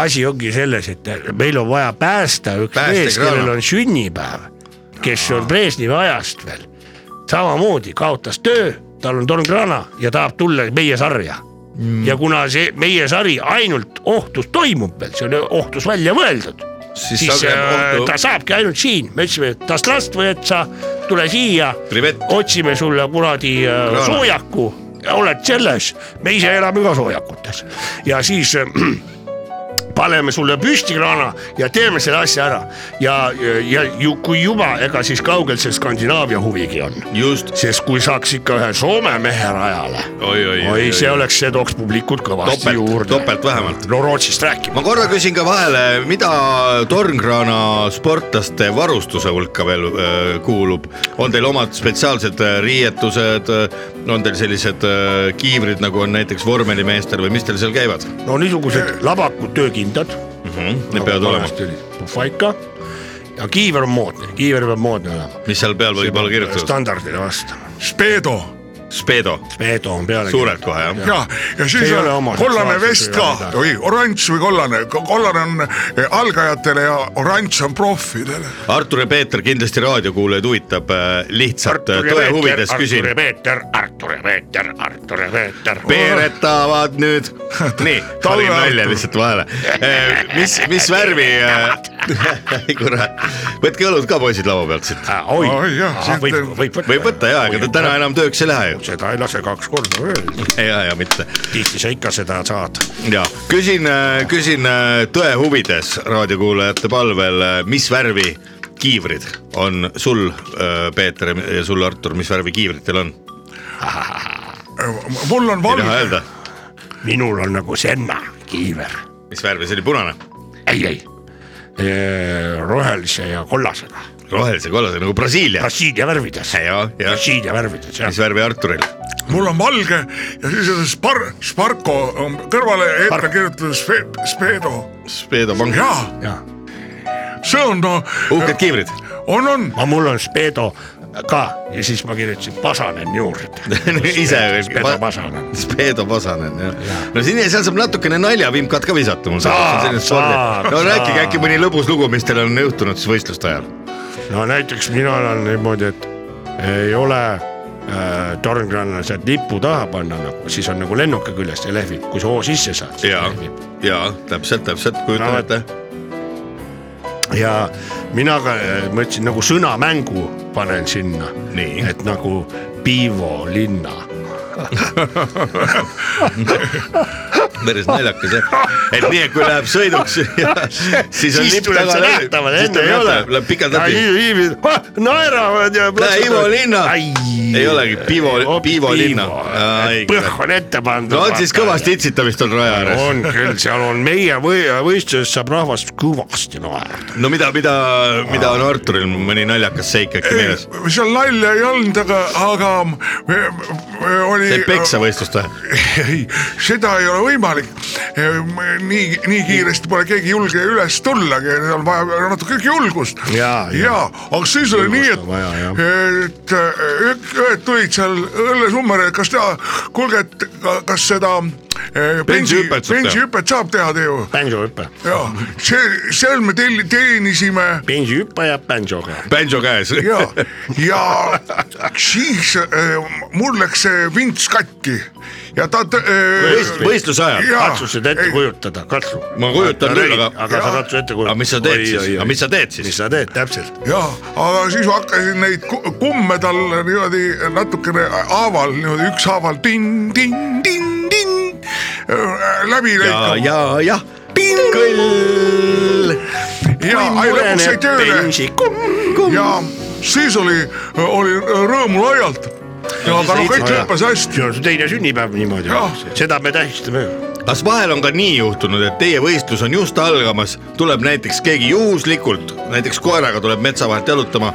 asi ongi selles , et meil on vaja päästa üks Päästekraana. mees , kellel on sünnipäev , kes on Brežnevi ajast veel . samamoodi kaotas töö , tal on tornkrana ja tahab tulla meie sarja mm. . ja kuna see meie sari ainult Ohtus toimub veel , see on Ohtus välja mõeldud , siis siis saab äh, ohtu ta . saabki ainult siin , me ütlesime , et tast last võid sa , tule siia Privet. otsime sulle kuradi äh, Kraana. soojaku , oled selles , me ise elame ka soojakutes ja siis äh, paneme sulle püsti kraana ja teeme selle asja ära ja , ja ju, kui juba , ega siis kaugel see Skandinaavia huvigi on , just , sest kui saaks ikka ühe Soome mehe rajale , oi , oi , oi , see . oleks , see tooks publikut kõvasti Topelt- juurde . topelt vähemalt. no Rootsist rääkima . ma korra küsin ka vahele , mida Tornkraana sportlaste varustuse hulka veel öö, kuulub , on teil omad spetsiaalsed öö, riietused , on teil sellised öö, kiivrid , nagu on näiteks vormelimeestel või mis teil seal käivad ? no niisugused labakud töökindad Hmm? Need peavad olema , paika ja kiiver on moodne , kiiver peab moodne olema . mis seal peal võib olla kirjutatud , standardile vastama , äh, Speedo Speedo , Speedo on peale . suurelt kohe jah . ja , ja siis ei on ole oma kollane seksuaalsus vest ega ka midagi. või oranž või kollane , kollane on eh, algajatele ja oranž on proffidele . Artur ja Peeter kindlasti raadiokuulajaid huvitab , lihtsalt äh, Artur ja tõe Peeter , huvides küsin Artur ja . Peeter , Artur ja Peeter , Artur ja Peeter . veeretavad nüüd . nii , panin nalja lihtsalt vahele . mis , mis värvi , kurat , võtke õlut ka poisid laua pealt siit . oi Oi, jah, , siit- võib , võib võtta . võib võtta ja , ega ta täna enam tööks ei lähe ju . seda ei lase kaks korda öelda , ja , ja mitte . tihti sa ikka seda saad . ja küsin , küsin äh, tõe huvides raadiokuulajate palvel , mis värvi kiivrid on sul , Peeter ja sul , Artur , mis värvi kiivrid teil on ? Eh, mul on ei taha valge , öelda , minul on nagu senna kiiver , mis värvi , see oli punane , ei , ei , rohelise ja kollasega , rohelise , kollase nagu Brasiilia . Brasiilia värvides , ja , ja Brasiilia värvides jah mis . värvi Arturil ? mul on valge ja siis on spar- , Sparko on kõrvale ette kirjutatud spe- Speedo Speedo pank . ja Jah. see on no , uhked kiivrid . on , on aga mul on Speedo ka ja siis ma kirjutasin Pasanen juurde ise . Speedo Pasanen . Speedo Pasanen jah , no siin ja seal saab natukene naljavimkat ka visata mul . Saab, saab, no saab. rääkige äkki mõni lõbus lugu , mis teil on juhtunud siis võistluste ajal . no näiteks mina olen niimoodi , et ei ole äh, tornkranna sealt lipu taha panna nagu , siis on nagu lennuki küljest ja lehvib , kui sa hoo sisse saad . ja , ja täpselt , täpselt kujutan No vot. ette . ja mina ka äh, mõtlesin nagu sõnamängu panen sinna , nii , et nagu Piivo linna . päris naljakas jah , et nii , et kui läheb sõiduks , siis on lipp taga läbi , siis tuleb jah , läheb pikalt läbi . ah, naeravad ja . Lähe Ivo linna , ei olegi Pivo , Pivo linna . põhh on ette pandud . no on siis kõvasti itsitamist on raja ääres . on küll , seal on meie või võistluses saab rahvast kõvasti naerda . no mida , mida , mida on Arturil mõni naljakas seik äkki meeles ? seal nalja ei olnud , aga , aga me, me, oli . Teid peksa võistlust või ? ei , seda ei ole võimalik . nii , nii kiiresti pole keegi julge üles tullagi , on vaja natuke julgust . Jaa, jaa. aga siis oli nii , Julgust on vaja, et , et ük- ühed tulid seal õllesummer , et kas teha , kuulge , et ka- kas seda eh, bensi , Bensihüpet saab bensihüpet saab teha te ju . bändihüpe , ja see , seal me teel- teenisime bändihüpe ja bändioga . bändžo käes . ja , ja siis eh, mul läks see vints katki ja ta . eh, võistluse ajal , Jaa. katsusid ette Ei. kujutada , katsu . ma kujutan küll , aga , aga sa Jaa. katsu ette aga kujutada . mis sa teed siis , aga mis sa teed mis siis ? sa teed täpselt ? jah , aga siis ma hakkasin neid ku- kumme talle niimoodi natukene haaval , niimoodi ükshaaval tin-tin-tin-tin läbi ja , lõikama . ja , jah , kõll . ja ai, lõpuks sai tööle ja siis oli , oli rõõmu laialt . aga no kõik ja. lõppes hästi . see on su teine sünnipäev niimoodi Jah. , seda me tähistame . kas vahel on ka nii juhtunud , et teie võistlus on just algamas , tuleb näiteks keegi juhuslikult , näiteks koeraga tuleb metsa vahelt jalutama ,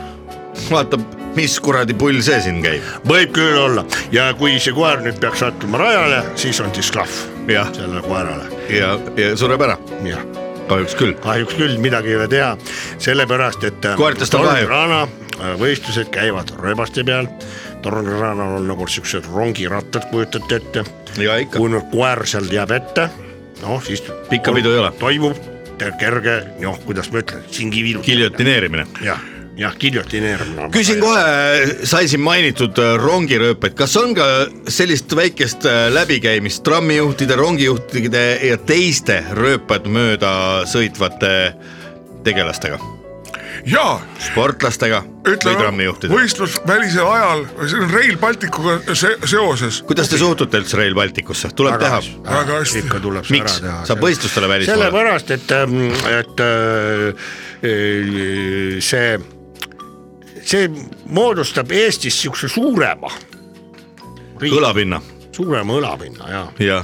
vaatab , mis kuradi pull see siin käib . võib küll olla ja kui see koer nüüd peaks sattuma rajale , siis on siis klahv Jah. sellele koerale , ja , ja sureb ära , jah kahjuks küll . kahjuks küll midagi ei ole teha , sellepärast et . Koertest on kahju. tornirana äh, võistlused käivad rööbaste peal , torniranal on nagu siuksed rongirattad , kujutate ette . ja ikka , kui nüüd koer seal jääb ette , noh siis . Pikka pidu ei ole. toimub te- kerge , noh , kuidas ma ütlen , singi viilutamine . giljotineerimine . jah , jah , giljotineerimine . küsin . kohe , sai siin mainitud äh, rongirööpaid , kas on ka sellist väikest äh, läbikäimist trammijuhtide , rongijuhtide ja teiste rööpad mööda sõitvate tegelastega , ja sportlastega või ütleme trammijuhtidega ? võistlusvälisel ajal , see on Rail Balticuga se seoses kuidas te suhtute üldse Rail Balticusse , tuleb teha , väga hästi . ikka tuleb see miks ära teha . saab võistlustele välismaale ? sellepärast , et , et äh, see , see moodustab Eestis siukse suurema , kõlapinna suurema õlapinna ja , ja ,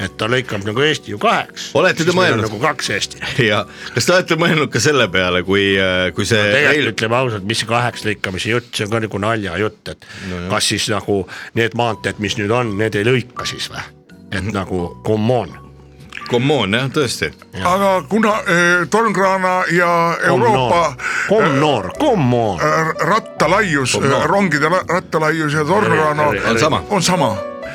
et ta lõikab nagu Eesti ju kaheks . Olete te mõelnud? nagu kaks Eestit . ja kas te olete mõelnud ka selle peale , kui , kui see Rail tegelikult ütleme ausalt , mis see kaheks lõikamise jutt , see on ka nagu naljajutt , et no, kas siis nagu need maanteed , mis nüüd on , need ei lõika siis või , Mhm. et nagu come on Come on jah , Oh tõesti , aga kuna eh, Torngrana ja Euroopa Come noor , come on , eh, rattalaius äh, On noor. , rongide ra- rattalaius ja Torngrana Eri- on sama . on sama .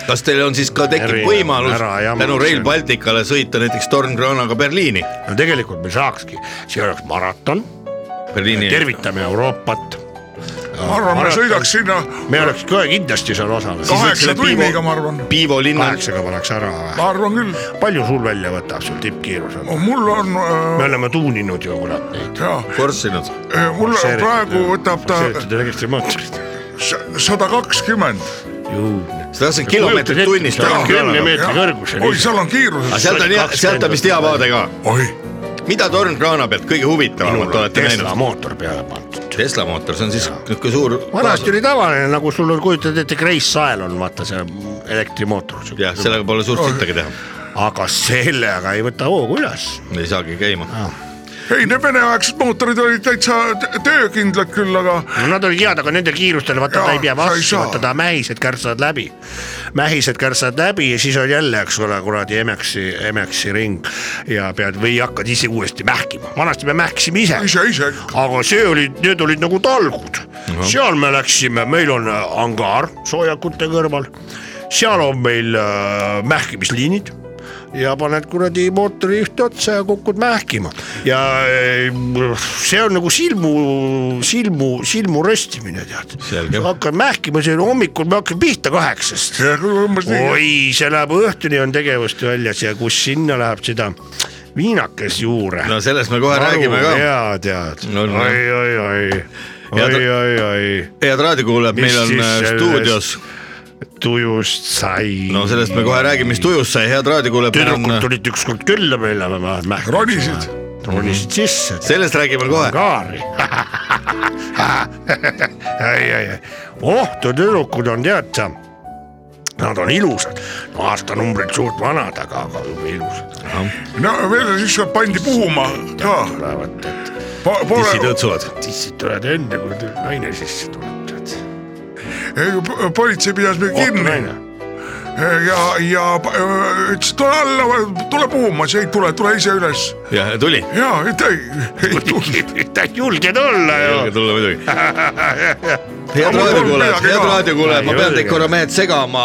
kas teil on siis ka tekib Erinev, võimalus ära jama, tänu see Rail on- Balticale sõita näiteks Torngranaga Berliini ? no tegelikult me saakski , see oleks maraton Berliini . tervitame Euroopat . ma arvan , ma sõidaks sinna me oleks kohe kindlasti seal osalenud . kaheksa tunniga , ma arvan . Piivo linna , kaheksaga paneks ära või ? ma arvan küll , palju sul välja võtab sul tippkiirus on ? mul on me äh, , oleme tuuninud ju kurat neid . jaa , forssinud . mul praegu võtab ta seeritud elektrimootorit . sada kakskümmend . sa tahtsid kilomeetrit tunnis teha . teha ? kümne meetri oi , kõrgusel . seal on aga kiirus . sealt on hea , sealt on vist hea vaade ka . oi , mida Torngrana pealt kõige huvitavamat olete Tesla näinud ? mootor peale pandud . Tesla mootor , see on siis niisugune suur . vanasti oli tavaline , nagu sul on , kujutad ette , Grace Sael on vaata see elektrimootor . jah , sellega pole suurt sittagi teha , aga sellega ei võta hoogu üles . ei saagi käima . Ah. ei need veneaegsed mootorid olid täitsa t- töökindlad küll , aga no nad olid head , aga nendel kiirustel vaata Jaa, ta ei pea sa ei vastu , saa. vaata ta mähised kärtsad läbi . mähised kärtsad läbi ja siis on jälle , eks ole , kuradi Emexi , Emexi ring ja pead või hakkad ise uuesti mähkima , vanasti me mähkisime ise . ise , ise aga see oli , need olid nagu talgud , seal me läksime , meil on angaar soojakute kõrval , seal on meil äh, mähkimisliinid ja paned kuradi mootori ühte otsa ja kukud mähkima ja äh, see on nagu silmu , silmu , silmu röstimine tead . Selge. hakkad mähkima , see on hommikul me hakkame pihta kaheksast . ja kui umbes nii , oi , see läheb õhtuni on tegevust väljas ja kus sinna läheb seda viinakest juurde no sellest me kohe räägime ka . jaa , tead No, no. oi , oi , oi , Ja ta- oi , oi , oi , head raadiokuulajad , Mis meil on siis äh, sellest- stuudios , tujust sai . no sellest me kohe räägime , mis tujus sai , head tüdrukud raadiokuulajad . äh, tulid ükskord külla meile , me mähkisime . Ronisid. . ronisid sisse . sellest räägime kohe . kaari . ei , ei , ei , ohtu tüdrukud on tead sa , nad on ilusad , no aastanumbrid suht vanad , aga , aga juba ilusad no veel siis pandi puhuma ka , tulevad , et issid pole , õõtsuvad . tissid tulevad enne , kui tü- naine sisse tuleb , tead . politsei pidas meid ohtu kinni naine . ja , ja pa- öö, ütles , tule alla , tule puhuma , siis ei tule , tule ise üles jah , tuli . ja et ei , ei tulnud . julged olla ju julge tulla muidugi . head Aga mul raadiokuulajad , polnud midagi head ka. raadiokuulajad , ma Ei pean julge. teid korra mehed segama .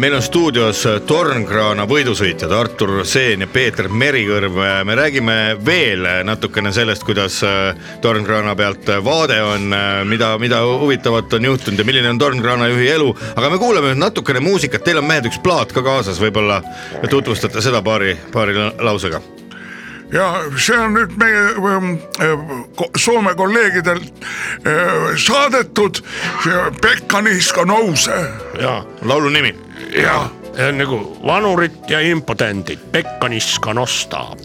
meil on stuudios Tornkraana võidusõitjad Artur Seen ja Peeter Merikõrv . me räägime veel natukene sellest , kuidas äh, Tornkraana pealt vaade on , mida , mida huvitavat on juhtunud ja milline on Tornkraana juhi elu . aga me kuulame nüüd natukene muusikat , teil on mehed üks plaat ka kaasas , võib-olla tutvustate seda paari , paari la- lausega . ja see on nüüd meie ähm, äh, ko- Soome kolleegidelt äh, saadetud see Pekka Niiska nõuse jaa laulu nimi ja see on nagu vanurit ja impotendid , pekka niska nostab .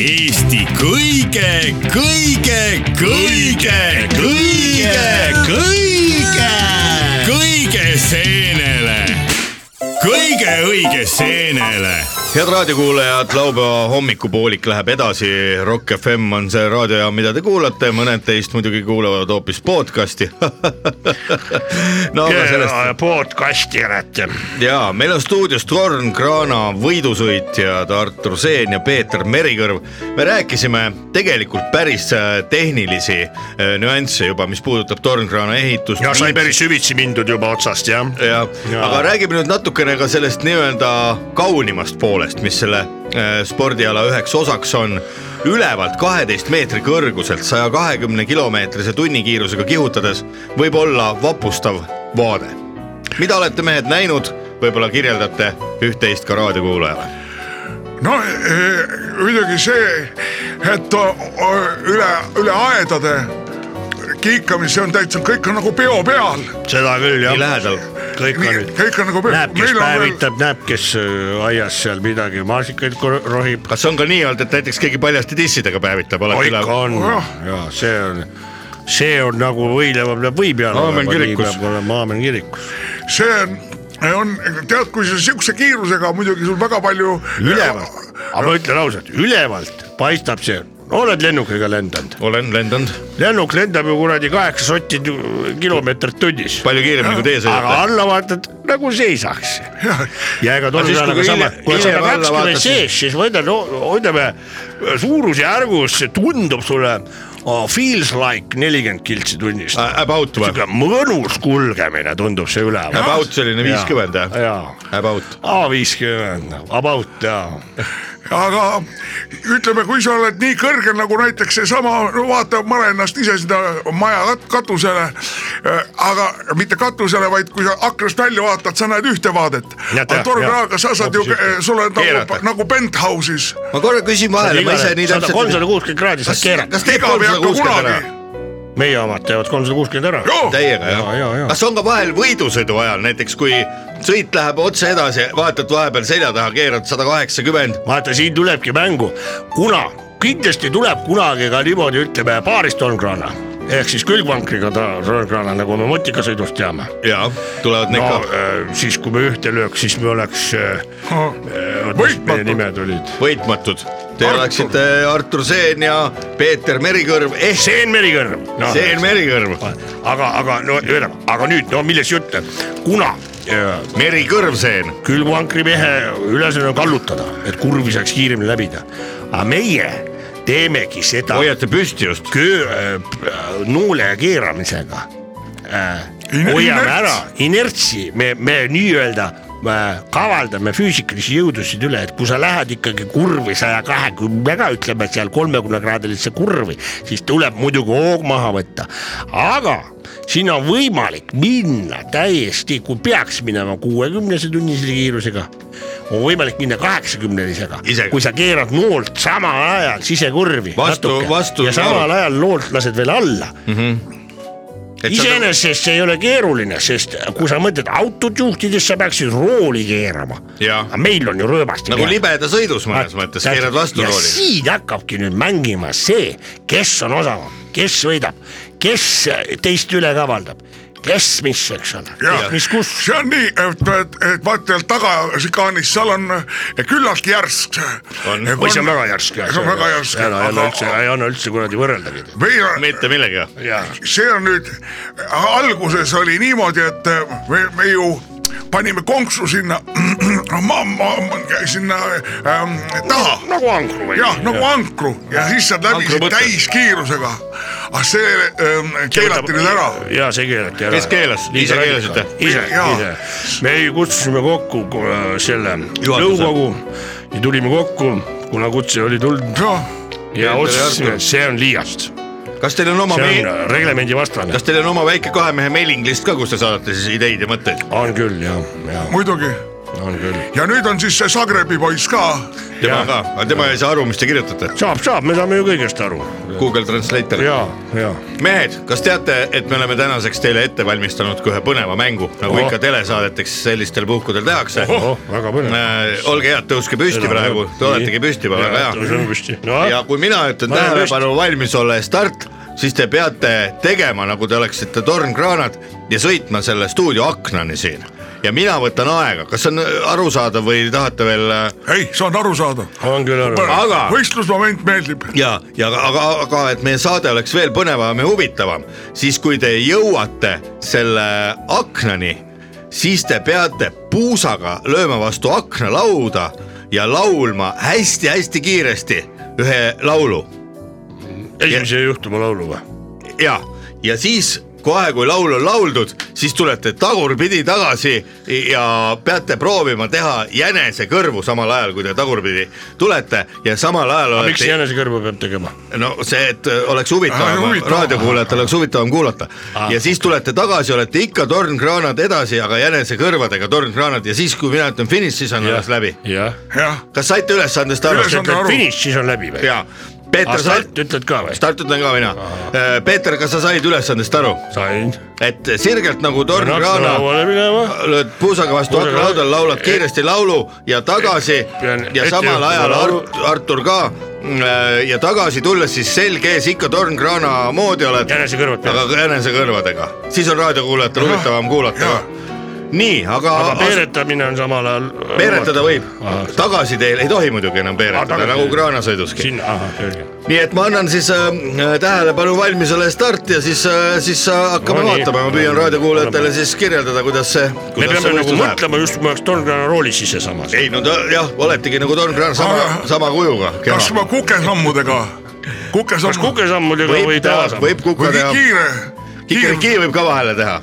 Eesti kõige , kõige , kõige , kõige , kõige , kõige seenele . kõige õige seenele . head raadiokuulajad , laupäeva hommikupoolik läheb edasi , Rock FM on see raadiojaam , mida te kuulate , mõned teist muidugi kuulavad hoopis podcast'i . no aga sellest podcasti olete . ja meil on stuudios Torn Krana võidusõitjad Artur Seen ja Peeter Merikõrv . me rääkisime tegelikult päris äh, tehnilisi äh, nüansse juba , mis puudutab Torn Krana ehitust . ja sai päris süvitsi mindud juba otsast jah . jah ja. , Jaa. aga räägime nüüd natukene ka sellest nii-öelda kaunimast poolest , mis selle äh, spordiala üheks osaks on . ülevalt kaheteist meetri kõrguselt saja kahekümne kilomeetrise tunnikiirusega kihutades võib olla vapustav vaade . mida olete mehed näinud , võib-olla kirjeldate üht-teist ka raadiokuulajale . no eh, muidugi see , et o- o- üle , üle aedade kiikamine , see on täitsa , kõik on nagu peo peal . seda küll nii jah . lähedal . kõik on nüüd . kõik on nagu peo näeb , kes . päevitab , näeb , kes öö, aias seal midagi maasikaid kor- rohib . kas on ka nii olnud , et näiteks keegi paljaste dissidega päevitab , no olete ikka üle ? on Jah. ja see on , see on nagu võileiva peab või peal Aamen kirikus. Aamen kirikus . see on , on , tead , kui sa sihukese kiirusega muidugi sul väga palju . ülevalt , aga ma ütlen ausalt , ülevalt paistab see , oled lennukiga lendanud , olen lendanud lennuk lendab ju kuradi kaheksa sotti tu- kilomeetrit tunnis . palju kiiremini kui teie aga sõidate . alla vaatad nagu seisaks . ja ega tol Aga siis, ajal kui aga sama hiljem- , kui on sada hiljem alla kakskümmend vaatad, sees , siis ma ütlen , ütleme suurusjärgus see tundub sulle oh, feels like nelikümmend kiltsi tunnis . About Äh, või ? sihuke mõnus kulgemine tundub see üleval . About selline viiskümmend või ? jaa , About . A50 , about jaa . aga ütleme , kui sa oled nii kõrgel nagu näiteks seesama , no vaata , ma olen ennast ise sinna maja kat- katusele , aga mitte katusele , vaid kui sa aknast välja vaatad , sa näed ühte vaadet . Näed, jah, aga jah. torgrahaga sa saad ju Hoopis , ühte. sul on nagu Keerata. , nagu penthouse'is . ma korra küsin vahele , ma ise nii täpselt . kolmsada kuuskümmend kraadi saad kas , keerata , kas teeb igav ei kolmsada hakka kuuskümmend ära kunagi ?. Oh! meie omad teevad kolmsada kuuskümmend ära . täiega Ja, ja, jah ja. ? kas on ka vahel võidusõidu ajal näiteks , kui sõit läheb otse edasi , vaatad vahepeal selja taha , keerad sada kaheksakümmend , vaata , siin tulebki mängu , kuna kindlasti tuleb kunagi ka niimoodi , ütleme paarist tonnkraana ehk siis külgvankriga ta- tonnkraana , nagu me motikasõidust teame . jaa , tulevad need no ka eh, siis , kui me ühte lööks , siis me oleks , mis meie Võitmatud. nimed olid , võitmatud . Te Artur. oleksite Artur Seen ja Peeter Merikõrv , ehk Eh, Seen Merikõrv no, Seen Merikõrv , aga , aga no ühesõnaga , aga nüüd no milles jutt , kuna eh, Merikõrv Seen . külmvankrimehe ülesanne on kallutada , et kurvi saaks kiiremini läbida . aga meie teemegi seda hoiate püsti just . köö , nuule keeramisega äh, . In- hoiame inerts. ära inertsi , me , me nii-öelda äh, kavaldame füüsikalisi jõudusid üle , et kui sa lähed ikkagi kurvi saja kahekümnega , ütleme seal kolmekümnekraadilisse kurvi , siis tuleb muidugi hoog maha võtta , aga siin on võimalik minna täiesti , kui peaks minema kuuekümnese tunnise kiirusega , on võimalik minna kaheksakümnelisega Isegi. , kui sa keerad noolt samal ajal sisekurvi . Vastu- Natuke. vastu- ja samal ajal loolt lased veel alla , nagu iseenesest see ei ole keeruline , sest kui sa mõtled autot juhtides , sa peaksid rooli keerama . Jaa. aga meil on ju rööbasti nagu . libeda sõidus mõnes mõttes , keerad vastu ja rooli . siin hakkabki nüüd mängima see , kes on osavam , kes võidab , kes teist üle kavaldab , kes mis , eks ole , mis kus . see on nii , et , et , et vaata sealt taga šikaanis , seal on küllaltki järsk . On. oi , see on väga järsk . see on väga järsk , ära , ei anna üldse , aga ei anna üldse kuradi võrreldagi . meil on , mitte millegagi . see on nüüd , alguses oli niimoodi , et äh, me, me ju panime konksu sinna ma, , ma, ma- sinna ähm, taha . nagu ankru või ? jah , nagu ankru ja siis sa läbisid Ankrumõte. täiskiirusega . aga see ähm, keelati nüüd ära . ja see keelati ära . Kes keelas? Ise keelasite? ise , Jaa. ise . me ei- kutsusime kokku äh, selle Juhatuse. nõukogu ja tulime kokku , kuna kutse oli tulnud jah , ja Peeter otsustasime , Artur. et see on liiast . kas teil on oma see me- on , äh, reglemendi vastane . kas teil on oma väike kahe mehe mailing list ka , kus te saadate siis ideid ja mõtteid ? on küll jah , jah , muidugi . on küll . ja nüüd on siis see Zagrebi poiss ka . tema Jah. ka , aga tema ei saa aru , mis te kirjutate . saab , saab , me saame ju kõigest aru . Google Translator . ja , ja mehed , kas teate , et me oleme tänaseks teile ette valmistanud ka ühe põneva mängu , nagu Ohoh. ikka telesaadeteks sellistel puhkudel tehakse . Ohoh, väga põnev. olge head , tõuske püsti praegu , te oletegi püsti juba , väga hea . tõuseme püsti . no ja kui mina ütlen Ma olen tähelepanu valmis olla ja start , siis te peate tegema , nagu te oleksite tornkraanad ja sõitma selle stuudio aknani siin ja mina võtan aega , kas on arusaadav või tahate veel äh, ei , see on arusaadav . on küll aru . Aga- võistlusmoment meeldib . ja , ja aga , aga et meie saade oleks veel põnevam ja huvitavam , siis kui te jõuate selle aknani , siis te peate puusaga lööma vastu aknalauda ja laulma hästi-hästi kiiresti ühe laulu esimese juhtuma laulu või ? ja , ja siis kohe , kui laul on lauldud , siis tulete tagurpidi tagasi ja peate proovima teha jänesekõrvu samal ajal , kui te tagurpidi tulete ja samal ajal miks olete jänesekõrva peab tegema ? no see , et äh, oleks Ah, huvitavam huvitav. , raadiokuulajatel oleks huvitavam kuulata Ah. ja siis tulete tagasi , olete ikka tornkraanad edasi , aga jänesekõrvadega tornkraanad ja siis , kui mina ütlen finiš , siis on alles läbi . jah . jah , kas saite ülesandest aru ? Ülesande- Saan ütled aru. finiš , siis on läbi või ? ja , Peeter , sa , start ütled ka või ? Ah. start ütlen ka mina . Peeter , kas sa said ülesandest aru , sain . et sirgelt nagu tornkraana lauale minema . lööd puusaga vastu Puusaga aknalaudal , laulad kiiresti laulu ja tagasi Pean ja ette samal juhtima ajal laulu. Art- Artur ka äh, ja tagasi tulles siis selg ees ikka tornkraana moodi oled , jänesekõrvad peal . aga jänesekõrvadega , siis on raadiokuulajatel huvitavam kuulata jaa. ka . nii , aga, aga aga peeretamine on samal ajal . äh, peeretada võib Ahah. , tagasi teel ei tohi muidugi enam peeretada , tagasi- nagu kraanasõiduski . sinna , ahah , selge . nii et ma annan siis äh, tähelepanu valmisele start ja siis äh, , siis äh, hakkame No no, nii. vaatama , ma püüan raadiokuulajatele siis kirjeldada , kuidas see , me kuidas peame see nagu võistlus läheb . mõtlema just , kui me oleks tornkraana roolis ise samas . ei no ta jah , oletegi nagu Don Graham , sama , Aga- sama kujuga . kas ma kukesammudega , kas kukesammu , kukesammudega võib või teha , tavasammudega ? võib või kuka ki- teha , kiire , kiire , kikerikii võib ka vahele teha .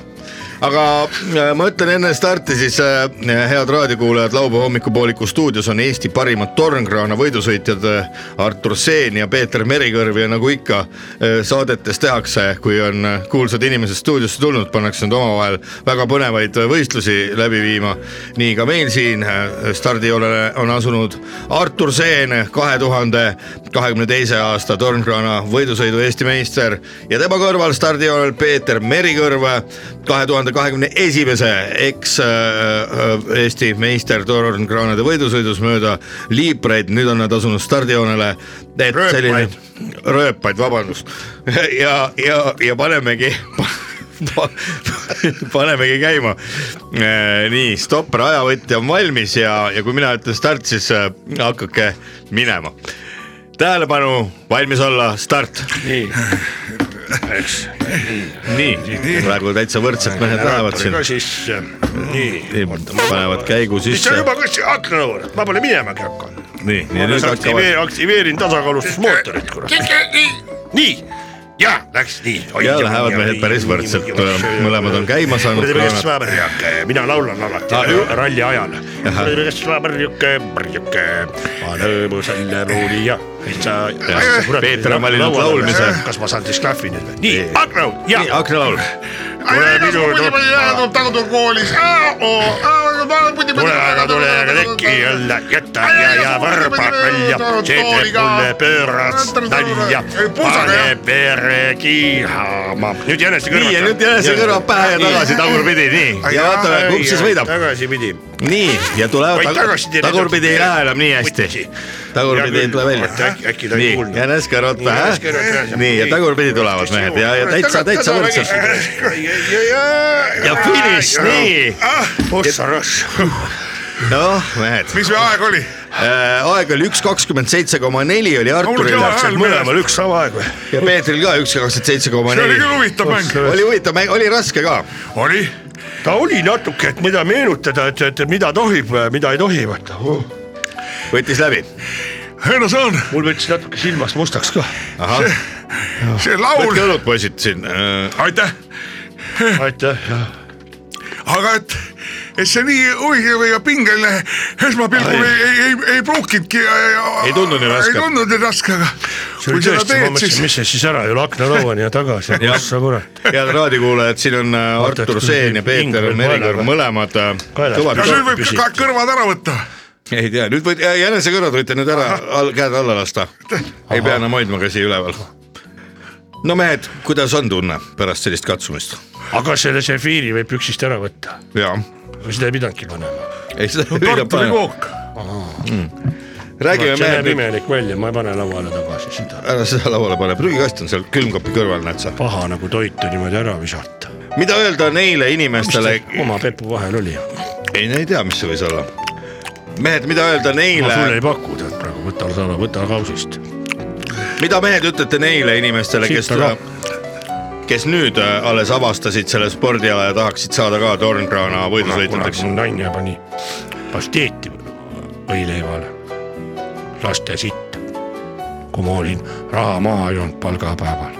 aga äh, ma ütlen enne starti siis , head raadiokuulajad , laupäeva hommikupooliku stuudios on Eesti parimad tornkraana võidusõitjad äh, Artur Seen ja Peeter Merikõrv ja nagu ikka äh, saadetes tehakse , kui on äh, kuulsad inimesed stuudiosse tulnud , pannakse nad omavahel väga põnevaid äh, võistlusi läbi viima . nii ka meil siin äh, stardijoonele on asunud Artur Seen , kahe tuhande kahekümne teise aasta tornkraana võidusõidu Eesti meister ja tema kõrval stardijoonel Peeter Merikõrv , kahe tuhande kahekümne esimese eks äh, äh, Eesti meister tornkraanade võidusõidus mööda liipreid , nüüd on nad asunud stardijoonele . Rööpaid. rööpaid , vabandust ja , ja , ja panemegi pa- panemegi käima . nii , stopp , rajavõtja on valmis ja , ja kui mina ütlen start , siis äh, hakake minema . tähelepanu , valmis olla , start . nii , nii , praegu täitsa võrdsed mehed lähevad siin ka . sisse . nii . panevad käigu mis sa sisse . juba kõik aknalaulad , ma pole minemagi hakanud . nii , ja ma nüüd just hakkavad . aktiveerin , aktiveerin tasakaalustusmootorit , kurat . nii , ja läks nii . ja lähevad mehed päris võrdselt , mõlemad on käima saanud . Kuradipäevasmaa pärjuke , mina laulan alati Ah, juh. ralli ajal . Ahah. kuradipäevasmaa pärjuke , pärjuke , ma lõõmusan ja ruuli ja täitsa . Peeter on valinud laulmise. kas ma saan siis klahvi nüüd või ? nii , Agro , ja nii , aknalaul . tule minu nurka , tagatukoolis , tule aga tule aga teki alla , jäta ja , ja võrbad välja , see teeb mulle pöörast nalja , pane vere kiihama . nüüd jänesekõrvad . nii ja nüüd jääse kõrvad pähe ja tagasi tagurpidi , nii . ja vaatame , kumb siis võidab . tagasipidi . nii ja tulevad Vaid tag tagasi teed- tagurpidi ei lähe enam nii hästi Võtsi. . tagurpidi ei tule välja Vaata, äkki- äkki ta ei . kuulnud. jäneskarvad Nii, pähe jäneskarvad pähe. , nii ja tagurpidi tulevad mehed ja , ja täitsa , täitsa võrdselt . ja finiš , nii . Ah, ossa rass . noh , mehed , mis see aeg oli ? aeg oli üks kakskümmend seitse koma neli oli Arturil Laulge hääl meeles. mõlemal üks sama aeg või ? ja Peetril ka üks kakskümmend seitse koma see oli neli küll huvitav mäng . oli huvitav mäng , oli raske ka . oli , ta oli natuke , et mida meenutada , et , et mida tohib , mida ei tohi vaata oh. . võttis läbi . ei no see on , mul võttis natuke silmast mustaks ka . ahah , see laul võtke , õlut , poisid siin . äh, aitäh , aitäh , aga et , et see nii huvitav ja pingeline esmapilgul ei , ei , ei , ei pruukinudki . Ei tundunud nii äh, raske. ei tundunud nii raske , aga see oli kui seda tõesti , ma teed , mõtlesin , siis mis see siis ära ei ole , aknalauani ja tagasi , ossa kurat . head raadiokuulajad , siin on äh, Vaata, Artur et Seen ja Peeter hing veel Merikõrv kaela- , mõlemad äh, kaelas kõvad ja . nüüd võib püsi- ka kõrvad ära võtta . ei tea , nüüd võid , jänesekõrvad võite nüüd ära , all, käed alla lasta . ei pea enam hoidma käsi üleval . no mehed , kuidas on tunne pärast sellist katsumist ? aga selle sefiiri võib üksist ära võtta , jaa . seda ei pidanudki panema . ei seda ei pea panema . kartulikook , räägime see näeb mehed nüüd , imelik välja , ma ei pane lauale tagasi seda . ära seda lauale pane , prügikast on seal külmkapi kõrval , näed sa . paha nagu toitu niimoodi ära visata . mida öelda neile inimestele , oma pepu vahel oli , ei , ei tea , mis see võis olla . mehed , mida öelda ma neile sulle , ei paku tead praegu , võta sõna , võta kausist . mida mehed ütlete neile inimestele , kes Sitta , kes nüüd äh, alles avastasid selle spordiala ja tahaksid saada ka tornkraana võidusõitjateks ? mul naine pani pasteeti võileivale , laste sitt . kui ma olin raha maha joonud palgapäeval ,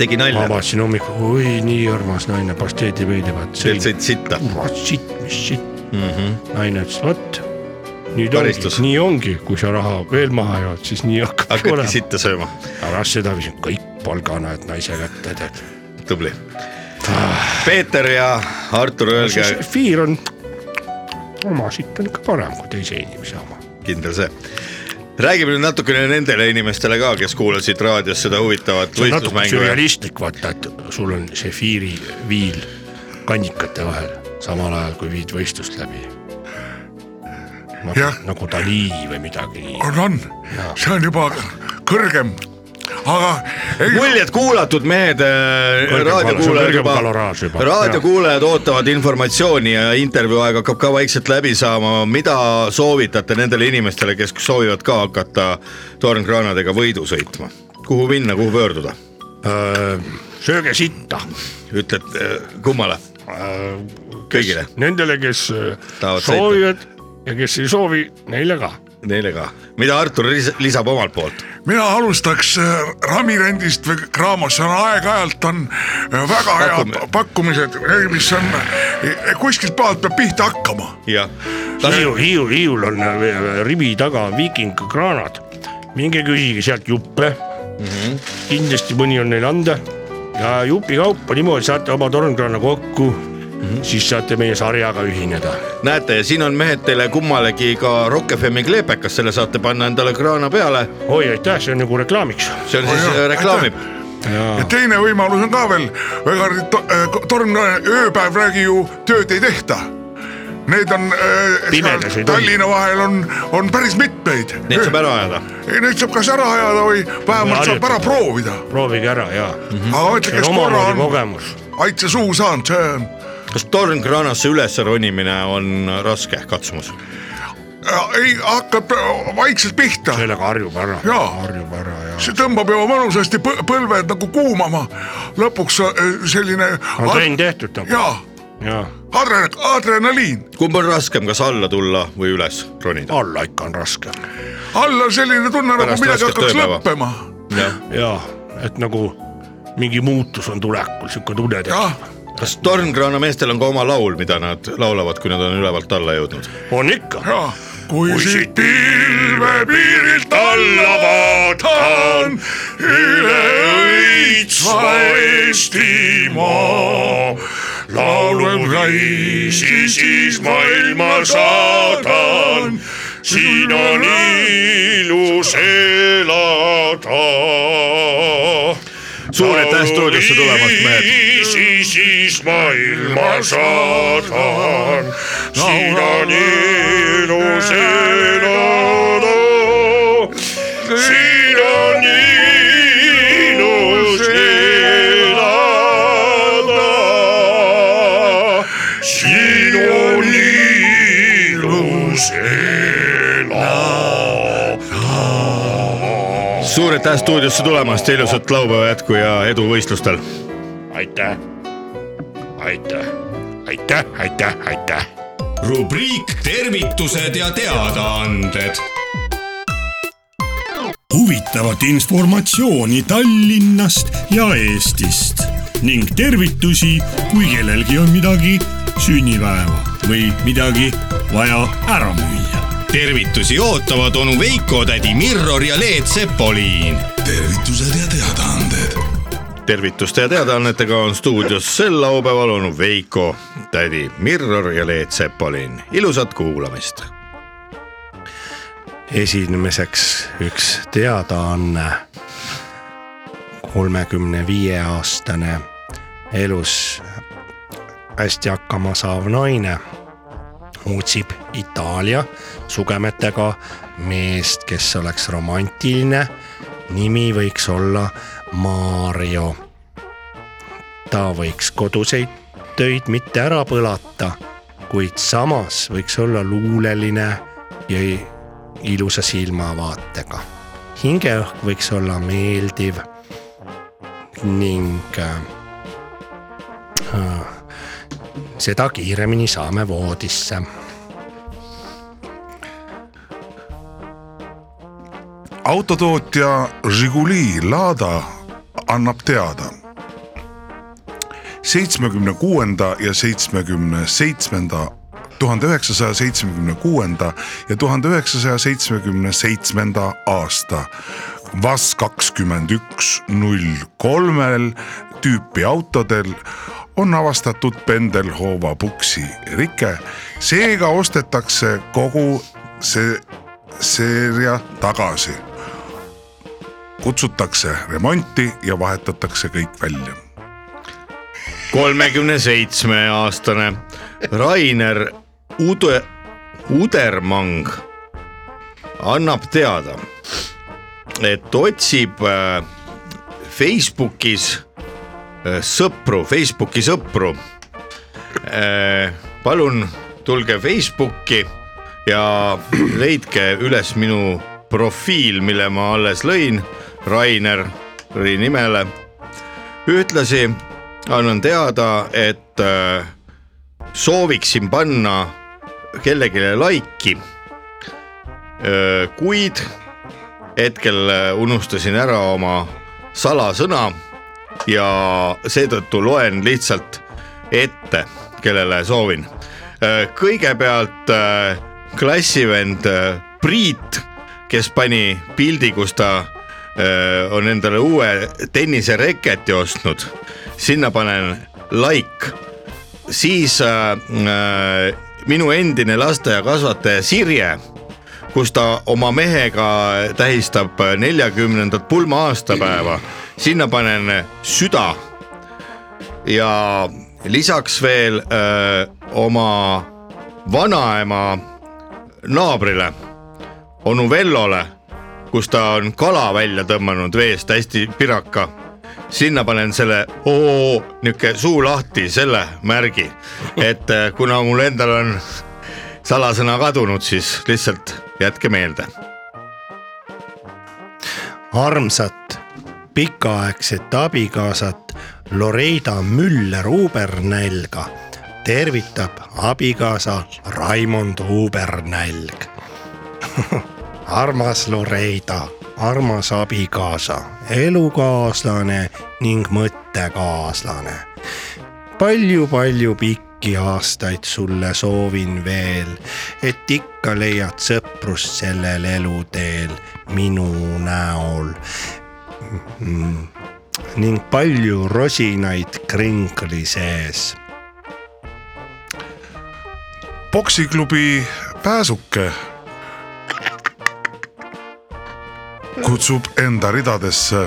tegi ma nalja , vaatasin hommikul , oi nii armas naine , pasteeti võileivad . teilt sõit sitta . kurat , sitt , mis sitt mm . -hmm. naine ütles , vot nüüd Karistus. ongi , nii ongi , kui sa raha veel maha jood , siis nii hakkabki hakkadki olema . sitta sööma , ära seda viisin kõik palgana , et naise kätte tead . tubli . Peeter ja Artur , öelge siis Fiir on , oma sitt on ikka parem kui teise inimese oma . kindel see . räägime nüüd natukene nendele inimestele ka , kes kuulasid raadios seda huvitavat natuke võistlusmängu . sürrealistlik vaata , et sul on see Fiiri viil kannikate vahel , samal ajal kui viid võistlust läbi . Jah. nagu , nagu Dali või midagi nii . on , on , see on juba kõrgem , aga ei , muljed kuulatud mehed , Kõrgem kalo- see on raadiokuulajad kõrgem juba kaloraaž , juba. raadiokuulajad ootavad informatsiooni ja intervjuu aeg hakkab ka vaikselt läbi saama . mida soovitate nendele inimestele , kes soovivad ka hakata tornkraanadega võidu sõitma , kuhu minna , kuhu pöörduda , Äh, sööge sitta Äh, ütled eh, kummale ? kõigile , nendele , kes äh, Tahavad sõita. soovivad ja kes ei soovi , neile ka . neile ka , mida Artur lis- lisab omalt poolt , mina alustaks äh, Ramirendist või Kraamost , see on aeg-ajalt on äh, väga head Pakume- pakkumised , mis on , kuskilt maalt peab pihta hakkama . jah . Hiiu , Hiiu , Hiiul on äh, rivi taga viikingkraanad , minge küsige sealt juppe mm . Mhm. -hmm. kindlasti mõni on neil anda ja jupikaupa niimoodi saate oma tornkraana kokku mm , Mhm. -hmm. siis saate meie sarjaga ühineda . näete , siin on mehed teile kummalegi ka Rock FM-i kleepekas , selle saate panna endale kraana peale , oi , aitäh , see on nagu reklaamiks . see on siis Oh eh, jah, reklaamib ja teine võimalus on ka veel , väga to- äh, torm , ööpäev räägi ju tööd ei tehta . Need on Pimedas äh, ei tohi. Tallinna vahel on , on päris mitmeid . Neid saab ära ajada . Neid saab kas ära ajada või vähemalt saab ära Harjutada. proovida . proovige ära ja mm , -hmm. aga mõtle , see kes on korra omamoodi on kogemus . aitse suhu saanud , see on kas tornkraanasse üles ronimine on raske katsumus ? äh, , ei hakkab äh, vaikselt pihta , sellega harjub ära , Jaa. harjub ära ja . see tõmbab juba mõnusasti põ- põlved nagu kuumama . lõpuks äh, selline . on trenn tehtud nagu , jaa , jaa . adre- , adrenaliin , kumb on raskem , kas alla tulla või üles ronida ? alla ikka on raske all on selline tunne nagu Pärast midagi rasket hakkaks tööpäeva. lõppema ja et nagu mingi muutus on tulekul , sihuke tunne jah tekib ., kas tornkraana meestel on ka oma laul , mida nad laulavad , kui nad on ülevalt alla jõudnud ? on ikka , jah , kui siit pilve piirilt alla vaatan üle õitsva Eestimaa , laulul reisi siis maailma saadan , siin on ilus elada suur aitäh stuudiosse tulemast , mehed . Viisi siis maailma saadan , siin on ilus elada . siin on ilus elada . siin on ilus elada . suur aitäh stuudiosse tulemast ja ilusat laupäeva jätku ja edu võistlustel . aitäh , aitäh , aitäh , aitäh , aitäh rubriik tervitused ja teadaanded . huvitavat informatsiooni Tallinnast ja Eestist ning tervitusi , kui kellelgi on midagi sünnipäeva või midagi vaja ära müüa . tervitusi ootavad onu Veiko , tädi Mirror ja Leet Sepoliin . tervitused ja teadaanded . tervituste ja teadaannetega on stuudios sel laupäeval onu Veiko , tädi Mirror ja Leet Sepolin . ilusat kuulamist esinemiseks üks teadaanne . kolmekümne viie aastane elus hästi hakkama saav naine otsib Itaalia sugemetega meest , kes oleks romantiline . nimi võiks olla Mario . ta võiks koduseid töid mitte ära põlata , kuid samas võiks olla luuleline ja i- ilusa silmavaatega . hingeõhk võiks olla meeldiv ning äh, äh, seda kiiremini saame voodisse . autotootja Žiguli Lada annab teada . seitsmekümne kuuenda ja seitsmekümne seitsmenda tuhande üheksasaja seitsmekümne kuuenda ja tuhande üheksasaja seitsmekümne seitsmenda aasta VAS kakskümmend üks null kolmel tüüpi autodel on avastatud pendelhoova puksi rike. seega ostetakse kogu see seeria tagasi kutsutakse remonti ja vahetatakse kõik välja . kolmekümne seitsme aastane Rainer Ude- , Udermang annab teada , et otsib äh, Facebookis äh, sõpru , Facebooki sõpru . palun tulge Facebooki ja leidke üles minu profiil , mille ma alles lõin Raineri nimele ühtlasi annan teada , et äh, sooviksin panna kellelegi laiki . kuid hetkel äh, unustasin ära oma salasõna ja seetõttu loen lihtsalt ette , kellele soovin . kõigepealt äh, klassivend äh, Priit , kes pani pildi , kus ta äh, on endale uue tennisereketi ostnud , sinna panen like , siis äh, äh, minu endine lasteaiakasvataja Sirje , kus ta oma mehega tähistab neljakümnendat pulma-aastapäeva , sinna panen süda ja lisaks veel öö, oma vanaema naabrile , onu Vellole , kus ta on kala välja tõmmanud veest hästi piraka . sinna panen selle oo niuke suu lahti selle märgi , et öö, kuna mul endal on salasõna kadunud , siis lihtsalt jätke meelde . armsat pikaaegset abikaasat Loreida Müller-Ubernälga tervitab abikaasa Raimond Ubernälg . armas Loreida , armas abikaasa , elukaaslane ning mõttekaaslane palju-palju pikki aastaid sulle soovin veel , et ikka leiad sõprust sellel eluteel minu näol . ning palju rosinaid krinkli sees . poksiklubi Pääsuke kutsub enda ridadesse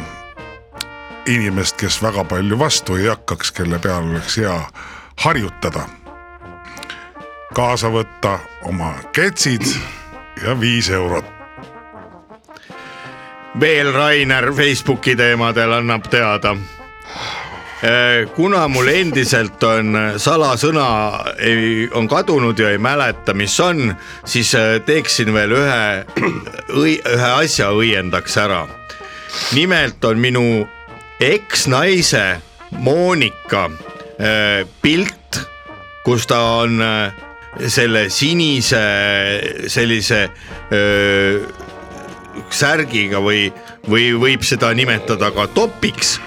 inimest , kes väga palju vastu ei hakkaks , kelle peal oleks hea harjutada . kaasa võtta oma ketsid ja viis eurot . veel Rainer Facebooki teemadel annab teada . kuna mul endiselt on eh, salasõna , ei , on kadunud ja ei mäleta , mis on , siis eh, teeksin veel ühe , ühe asja õiendaks ära . nimelt on minu eksnaise Monika eh, pilt kus ta on äh, selle sinise sellise eh, öö, särgiga või , või võib seda nimetada ka topiks ,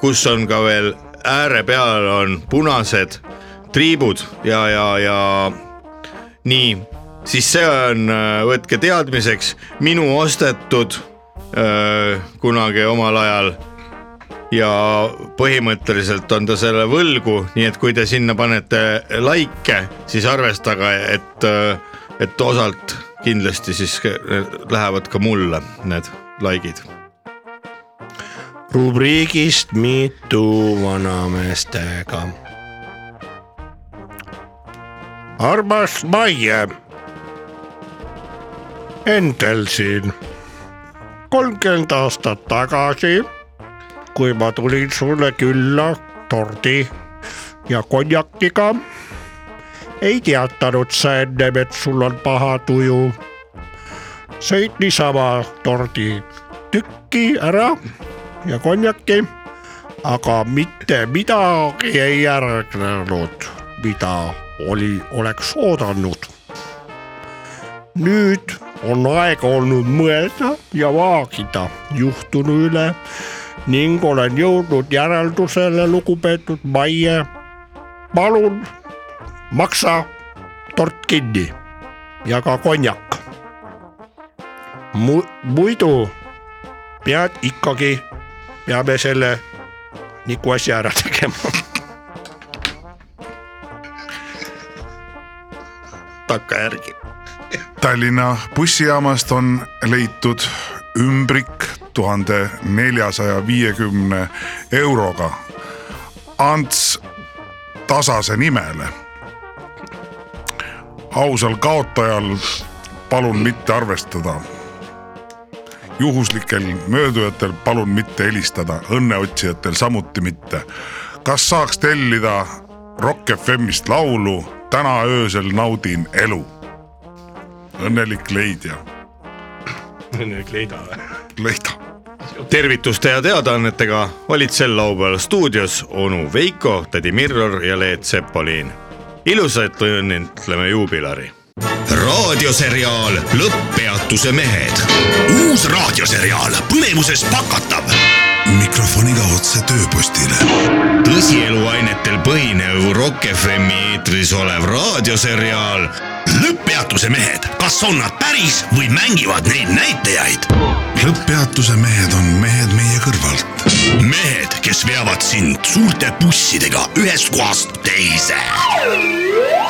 kus on ka veel ääre peal on punased triibud ja , ja , ja nii , siis see on , võtke teadmiseks , minu ostetud öö, kunagi omal ajal ja põhimõtteliselt on ta selle võlgu , nii et kui te sinna panete likee , siis arvestage , et , et osalt kindlasti siis lähevad ka mulle need like'id . rubriigist mitu vanameestega . armas Maie . Endel siin . kolmkümmend aastat tagasi , kui ma tulin sulle külla tordi ja konjakiga , ei teatanud sa ennem , et sul on paha tuju . sõid niisama tordi tükki ära ja konjaki , aga mitte midagi ei järgnenud , mida oli , oleks oodanud . nüüd on aega olnud mõelda ja vaagida juhtunu üle ning olen jõudnud järeldusele , lugupeetud Maie , palun maksa tort kinni ja ka konjak Mu . muidu pead ikkagi , peame selle niku asja ära tegema . takkajärgi . Tallinna bussijaamast on leitud ümbrik tuhande neljasaja viiekümne euroga Ants Tasase nimele . ausal kaotajal palun mitte arvestada . juhuslikel möödujatel palun mitte helistada , õnneotsijatel samuti mitte . kas saaks tellida Rock FM-ist laulu Täna öösel naudin elu õnnelik leidja , kleida või ? leida . tervituste ja teadaannetega olid sel laupäeval stuudios onu Veiko , tädi Mirror ja Leet Sepolin . ilusat õnnitleme juubilari raadioseriaal Lõpppeatuse mehed . uus raadioseriaal põnevuses pakatav . mikrofoniga otse tööpostile . tõsieluainetel põhinev Rock FM-i eetris olev raadioseriaal lõpppeatuse mehed , kas on nad päris või mängivad neid näitajaid ? lõpppeatuse mehed on mehed meie kõrvalt . mehed , kes veavad sind suurte bussidega ühest kohast teise .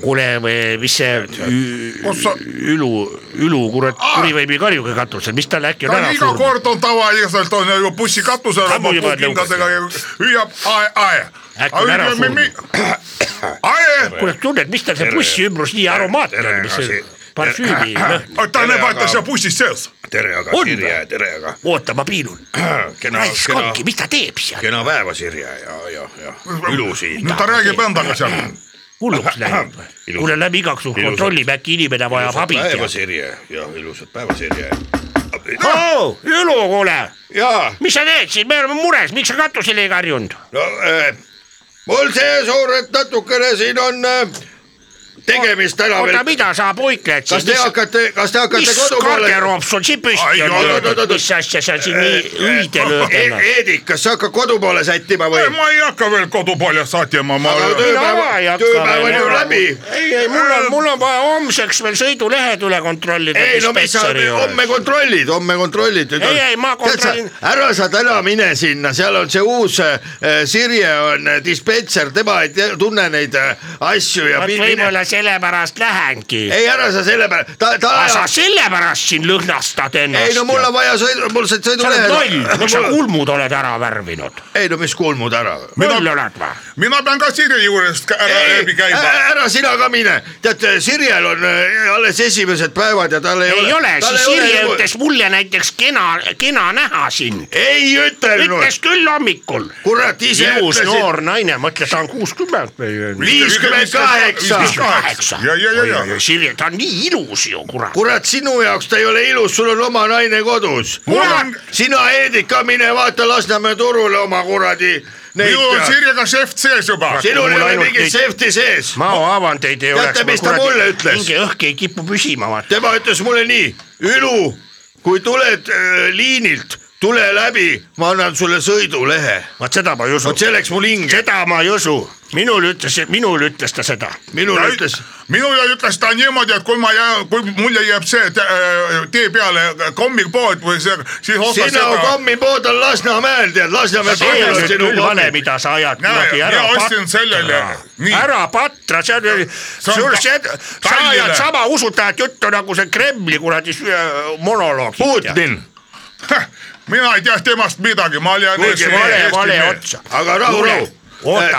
kuule , mis see Ü- Ülu , Ülu kurat kuriveebi karjuga katusel , mis talle äkki on ära iga surnud ? kord on tavaliselt on ju bussi katusel oma Kamu juba puukingadega ja hüüab ae , ae . Äkki on ära ae , kuule , tunned , mis tal see bussi ümbrus nii aromaatne on , mis see parfüümi lõhn , ta näeb , et ta seal bussis sees . tere , aga On Sirje , tere , aga oota , ma piinun . kena , kena , raiskonki , mis ta teeb seal , kena päeva , Sirje ja , ja , ja ilu siin . nüüd ta räägib endaga seal . hulluks läinud või ? kuule , lähme igaks juhuks Ilusat- kontrollime , äkki inimene vajab abi . päeva , Sirje ja ilusat päeva , Sirje . oo , Ülu , kuule , ja mis sa teed siin , me oleme mures , miks sa katusele ei karjunud ? no eh, mul see suur , et natukene siin on eh, tegemist täna oota , veel . mida sa puikled kas te siin ? hakkate , kas te hakkate mis kodupoole ? garderoob sul siin Ai, püsti oot, oot, oot, on oot. , mis asja sa siin nii õide lööd ennast ? Eedik , kas sa hakkad kodupoole sättima või ? ma ei hakka veel kodupaljast saatjama , ma . ära aga ei tööpäev , hakka tööpäev on veel ju ära. läbi . ei , ei mul on , mul on vaja homseks veel sõidulehed üle kontrollida . ei no mis sa homme kontrollid , homme kontrollid . Ei, ei, ma kontrollin- . ära sa täna mine sinna , seal on see uus äh, Sirje on äh, dispetšer , tema ei tea- tunne neid äh, asju ja . vot võib-olla sellepärast lähengi . ei ära sa selle peale , ta , ta aga Ah, sa . sellepärast siin lõhnastad ennast . ei no mul on vaja sõidu , mul said sa oled loll , miks sa sõidulehed . kulmud oled ära värvinud ? ei no mis kulmud ära . loll oled või ? mina pean ka Sirje juurest ka ära läbi käima . ära sina ka mine , tead Sirjel on äh, alles esimesed päevad ja tal ei ole . nagu- ei ole , siis Sirje ütles mulle näiteks kena , kena näha sind . ei ütles ütelnud , küll hommikul . kurat ise ilus ütlesid . noor naine , ma ütlen , ta on kuuskümmend või . viiskümmend kaheksa , kaheksa . ja , ja , ja , ja . Sirje , ta on nii ilus ju , kurat . kurat , sinu jaoks ta ei ole ilus , sul on oma naine kodus . Mul on- sina , Heedik , ka mine vaata Lasnamäe turule oma kuradi . minul on Sirjega šeft sees juba . sinul ei Mul ole ainult mingit neid- sefti sees . ma haavan teid ei Teate, oleks . mis ta mulle ütles? mingi õhk ei kipu püsima , vaata . tema ütles mulle nii , Ülu , kui tuled äh, liinilt , tule läbi , ma annan sulle sõidulehe . vot seda ma ei usu vot . see läks mul hinge , seda ma ei usu . minul ütles , minul ütles ta seda . minule ütles , minule ütles ta niimoodi , et kui ma jään , kui mulje jääb see et, äh, tee peale kommipood või see , siis osta sina seda . kommipood on Lasnamäel , tead , Lasnamäe see on põhjal on nüüd sinu küll vale , kommid . mida sa ajad Näe, kuradi ära mina ostsin sellele. Nii. ära patra , see on , on sul ka- see , sa Tallinna- ajad sama äh, usutavat juttu nagu see Kremli kuradi sü- monoloog . Putin , mina ei tea temast midagi , ma olen . kuulge , vale , vale otsa . aga rahu , rahu .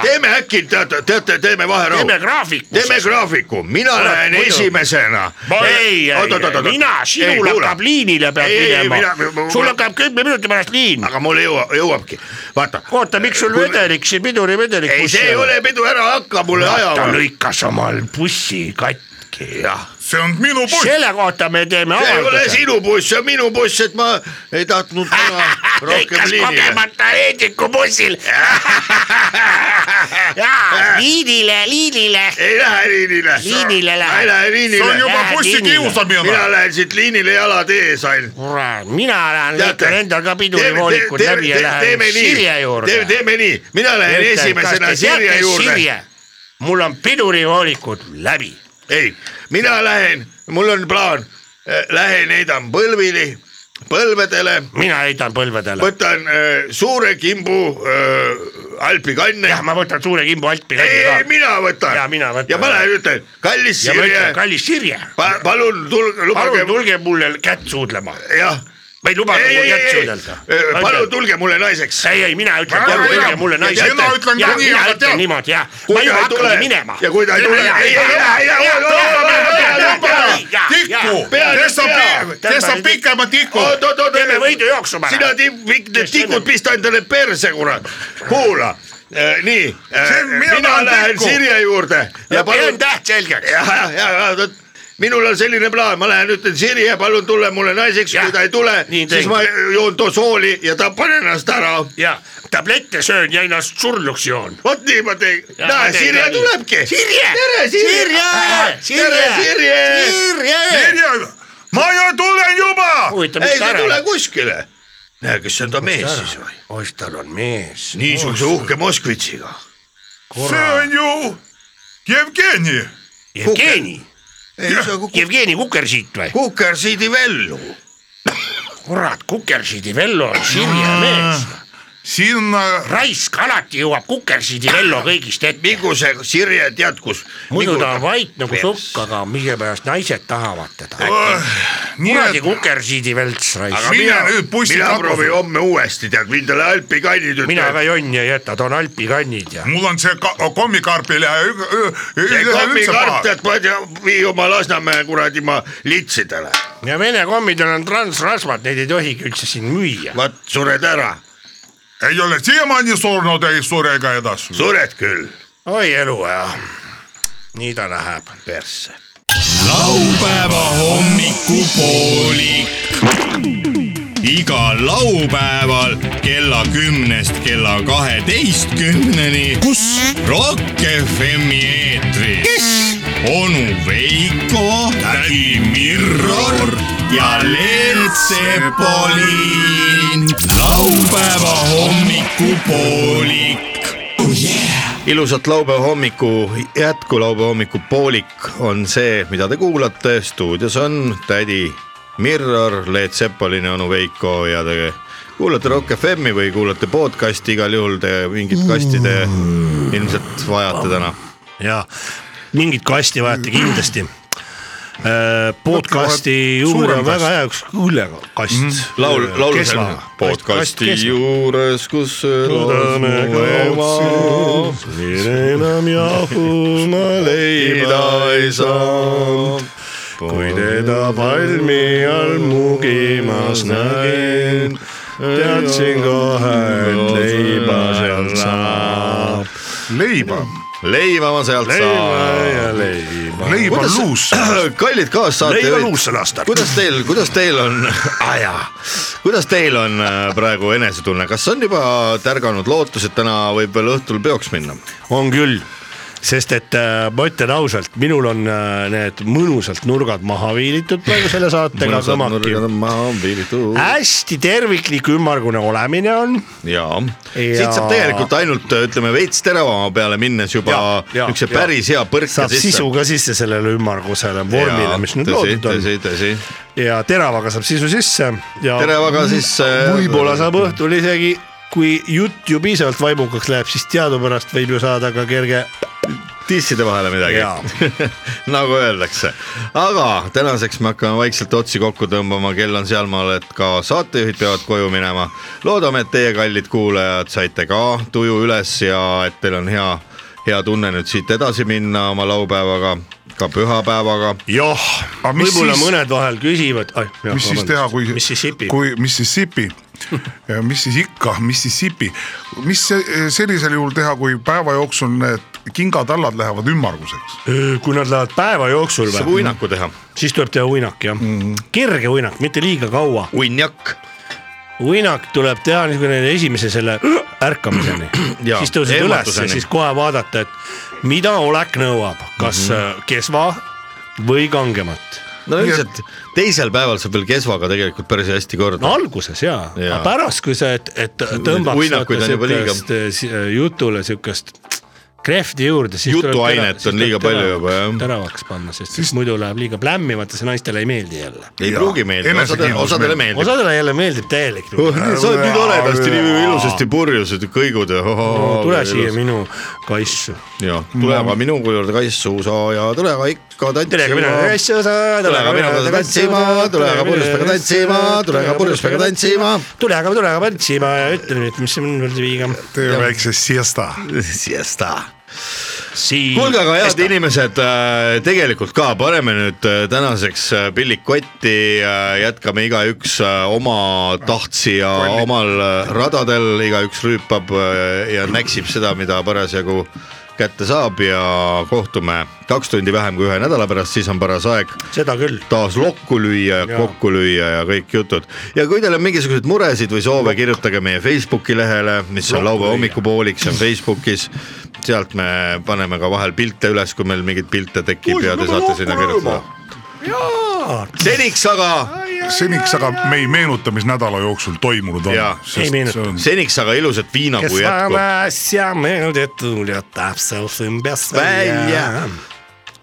teeme äkki , teate , teate , teeme vaherahu . Teeme graafiku teeme siis. graafiku , mina Kurat, lähen muidu. esimesena . ei , ei , mina , sinul hakkab liinile peab minema . sul hakkab kümne minuti pärast liin . aga mul jõuab , jõuabki , vaata . oota , miks sul vedelik siin , piduri vedelik . ei , see ei ole pidu , ära hakka mulle ta ajama . lõikas omal bussi katki ja . see on minu buss. selle kohta me teeme see ei ole avalduse . sinu buss , see on minu buss , et ma ei tahtnud täna rohkem lõikas liinile . kogemata Heediku bussil . jaa , liinile , liinile . ei lähe liinile . Liinile lähed. ma ei lähe liinile . See on juba Lähed bussi liinile. kiusamine. mina lähen siit liinile jalad ees ainult . kurat , mina lähen , Teate, lõikan endal ka pidurivoolikud teeme- läbi ja te- lähen teeme nii. Sirje juurde . Teeme- teeme nii. Mina lähen esimesena Sirje juurde. mul on pidurivoolikud läbi . ei , mina lähen , mul on plaan , lähen heidan põlvili , põlvedele , mina heidan põlvedele . võtan äh, suure kimbu äh, alpikanne . jah , ma võtan suure kimbu altpi ei , ei läbi ka . mina võtan ja mina võtan . ja ma lähen ütlen , kallis ja ma ütlen , Sirje , kallis Sirje , palun tulge , palun lubage , tulge mulle kätt suudlema . jah . ma ei luba ei , mulle ei , kätt ei , suudelda ei , palun tulge mulle naiseks . ei , ei mina ütlen , Ära palun mine. öelge mulle Ja naisele . mina ütlen ja ka nii, mina aga ütlen tead- niimoodi jah . Kui ma ta juba ei tule- hakkangi minema . ja kui ta ei tule- ei, ei, ei, ei, ei, tiku , Peale- kes saab peale- , kes saab pikema tiku , oot , oot , oot , Teeme võidujooksu pärast. sina ti- , need Kes tikud enne- pista endale perse , kurat , kuula , nii , mina mina tahan lähen tikku. Sirje juurde ja palun teen , täht selgeks . ja , ja , ja , minul on selline plaan , ma lähen ütlen Sirje , palun tule mulle naiseks , Jah. kui ta ei tule , Nii siis teen. ma joon too sooli ja tapan ennast ära . ja tablette söön ja ennast surnuks joon . vot nii ma teen , Ja näe ma teen Sirje ka nii. tulebki . Sirje! tere Sirje Sirje! , tere Sirje , Sirje . ma ju tulen juba . huvitav , ei miks ta ta ei ära tule läks ? kuskile . näe , kes on ta mees siis või ? ois , tal on mees . niisuguse uhke Moskvitšiga . see on ju Jevgeni , Jevgeni , ei , see on Kuku- Jevgeni Kukersiit või ? Kukersiidi Vellu . kurat , Kukersiidi Vello on Sirje mees . sinna raisk alati jõuab Kukersiidi Vello kõigist ette . mingu see Sirje tead kus . muidu ta on vait nagu sukk , aga millegipärast naised tahavad teda . nii kuradi et Kukersiidi velts raisk aga . Mine mina nüüd , bussi mina takka. proovin homme uuesti tead , mind on Alpi kannid mina ka . jonni ei jäta , toon alpi kannid ja . mul on see ka- kommikarp ei lähe ü- ü- ü- see üldse kommikart , paha , tead , ma ei tea , vii oma Lasnamäe kuradi maa litsidele , ja vene kommidel on transrasvad , neid ei tohigi üldse siin müüa . vaat sured ära , ei ole siiamaani surnud , ei sure ka edasi . sured küll . oi elu ja . nii ta läheb persse . laupäeva hommikupoolik . igal laupäeval kella kümnest kella kaheteistkümneni . kus ? Rock FM-i eetris . onu Veiko , tädi Mirror ja Leelt Sepolin . laupäeva hommikupoolik . ilusat laupäeva hommiku jätku , laupäeva hommiku poolik on see , mida te kuulate , stuudios on tädi Mirror , Leet Sepolin ja onu Veiko ja te kuulate Rock FM-i või kuulate podcast'i , igal juhul te Mm. mingit kasti te ilmselt vajate täna . ja mingit kasti vajate kindlasti . podcast'i juurde on väga hea üks õllekast mm. . laul , laul on podcast'i juures , kus . enam jahuma leida ei saa , kui teda palmi all mugimas nägin , teadsin kohe , et leiba sealt saab . leiba , leiva ma sealt leiba ja saan . leiba . Noh, leiba on luus . kallid kaassaatejuhid , luussõnastab . kuidas teil , kuidas teil on ah, , kuidas teil on äh, praegu enesetunne , kas on juba tärganud lootus , et täna võib veel õhtul peoks minna ? on küll , sest et äh, ma ütlen ausalt , minul on äh, need mõnusalt nurgad maha viilitud praegu selle saatega , kõmaki . maha on viilitud . hästi terviklik ümmargune olemine on , jaa ja... , Ja- siit saab tegelikult ainult äh, ütleme veits teravama peale minnes juba Ja, ja, niisuguse ja. päris hea põrka saab sisse . sisu ka sisse sellele ümmargusele vormile , mis nüüd tõsi , loodud on tõsi , tõsi . ja teravaga saab sisu sisse ja teravaga siis äh, võib-olla saab õhtul isegi , kui jutt ju piisavalt vaimukaks läheb , siis teadupärast võib ju saada ka kerge tisside vahele midagi . nagu öeldakse , aga tänaseks me hakkame vaikselt otsi kokku tõmbama , kell on sealmaal , et ka saatejuhid peavad koju minema . loodame , et teie , kallid kuulajad , saite ka tuju üles ja et teil on hea , hea tunne nüüd siit edasi minna oma laupäevaga , ka pühapäevaga . jah , võib-olla mõned vahel küsivad . mis siis teha , kui , kui Mississippi , mis siis ikka Mississippi , mis se- sellisel juhul teha , kui päeva jooksul need kingatallad lähevad ümmarguseks ? kui nad lähevad päeva jooksul Saab uinaku teha . siis tuleb teha uinak jah mm , -hmm. kerge uinak , mitte liiga kaua . uinjak . uinak tuleb teha niisugune esimese selle ärkamiseni , Jaa, siis tõused üles ja ehmatuseni. siis kohe vaadata , et mida olek nõuab , kas mm -hmm. kesva või kangemat . no üldiselt teisel päeval saab veel kesvaga tegelikult päris hästi korda . no alguses jaa ja. , aga pärast , kui sa , et , et tõmbad uinakuid on juba liiga . eh, jutule siukest krehvti juurde , siis tuleb Jutuainet terav- siis on liiga tuleb palju teravaks- juba, jah. teravaks panna , sest siis... muidu läheb liiga plämmivate , see naistele ei meeldi jälle . Ei Jaa. pruugi meeldida, Enesekindlus osadele- osadele meeldib. osadele jälle meeldib täielik . sa oled Oh, nii toredasti , nii ilusasti purjus , et kõigud ja . No, nagu- tule siia minu kaissu . ja , tule aga minu koju juurde kaissu sa ja tule aga ikka Tule aga tantsima minu kaissu sa, tule aga minu koju tantsima , tule aga purjuspäega tantsima , tule aga purjuspäega tantsima . tule aga , tule aga tantsima ja ütle nüüd , mis on veel viiga . tee väikse siesta . Siesta . kuulge , aga head inimesed , tegelikult ka paneme nüüd äh, tänaseks äh, pillid kotti , jätkame igaüks äh, oma tahtsi ja omal äh, radadel , igaüks rüüpab äh, ja näksib seda , mida parasjagu kätte saab ja kohtume kaks tundi vähem kui ühe nädala pärast , siis on paras aeg seda küll . taas lokku lüüa ja Jaa. kokku lüüa ja kõik jutud . ja kui teil on mingisuguseid muresid või soove , kirjutage meie Facebooki lehele , mis on laupäeva hommikupoolik , see on Facebookis . sealt me paneme ka vahel pilte üles , kui meil mingeid pilte tekib ja te saate sinna kirjutada . seniks aga . seniks aga me ei meenuta , mis nädala jooksul toimunud Jaa. on . Ei meenuta. seniks aga ilusat kes viinakuu jätku , sama asja meelde tuletab , see on sõmbest Välja. .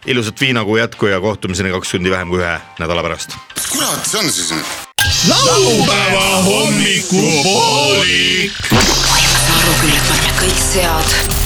ilusat viinakuu jätku ja kohtumiseni kaks tundi vähem kui ühe nädala pärast . kurat , see on siis nüüd . laupäeva hommikupoolik . kõik sead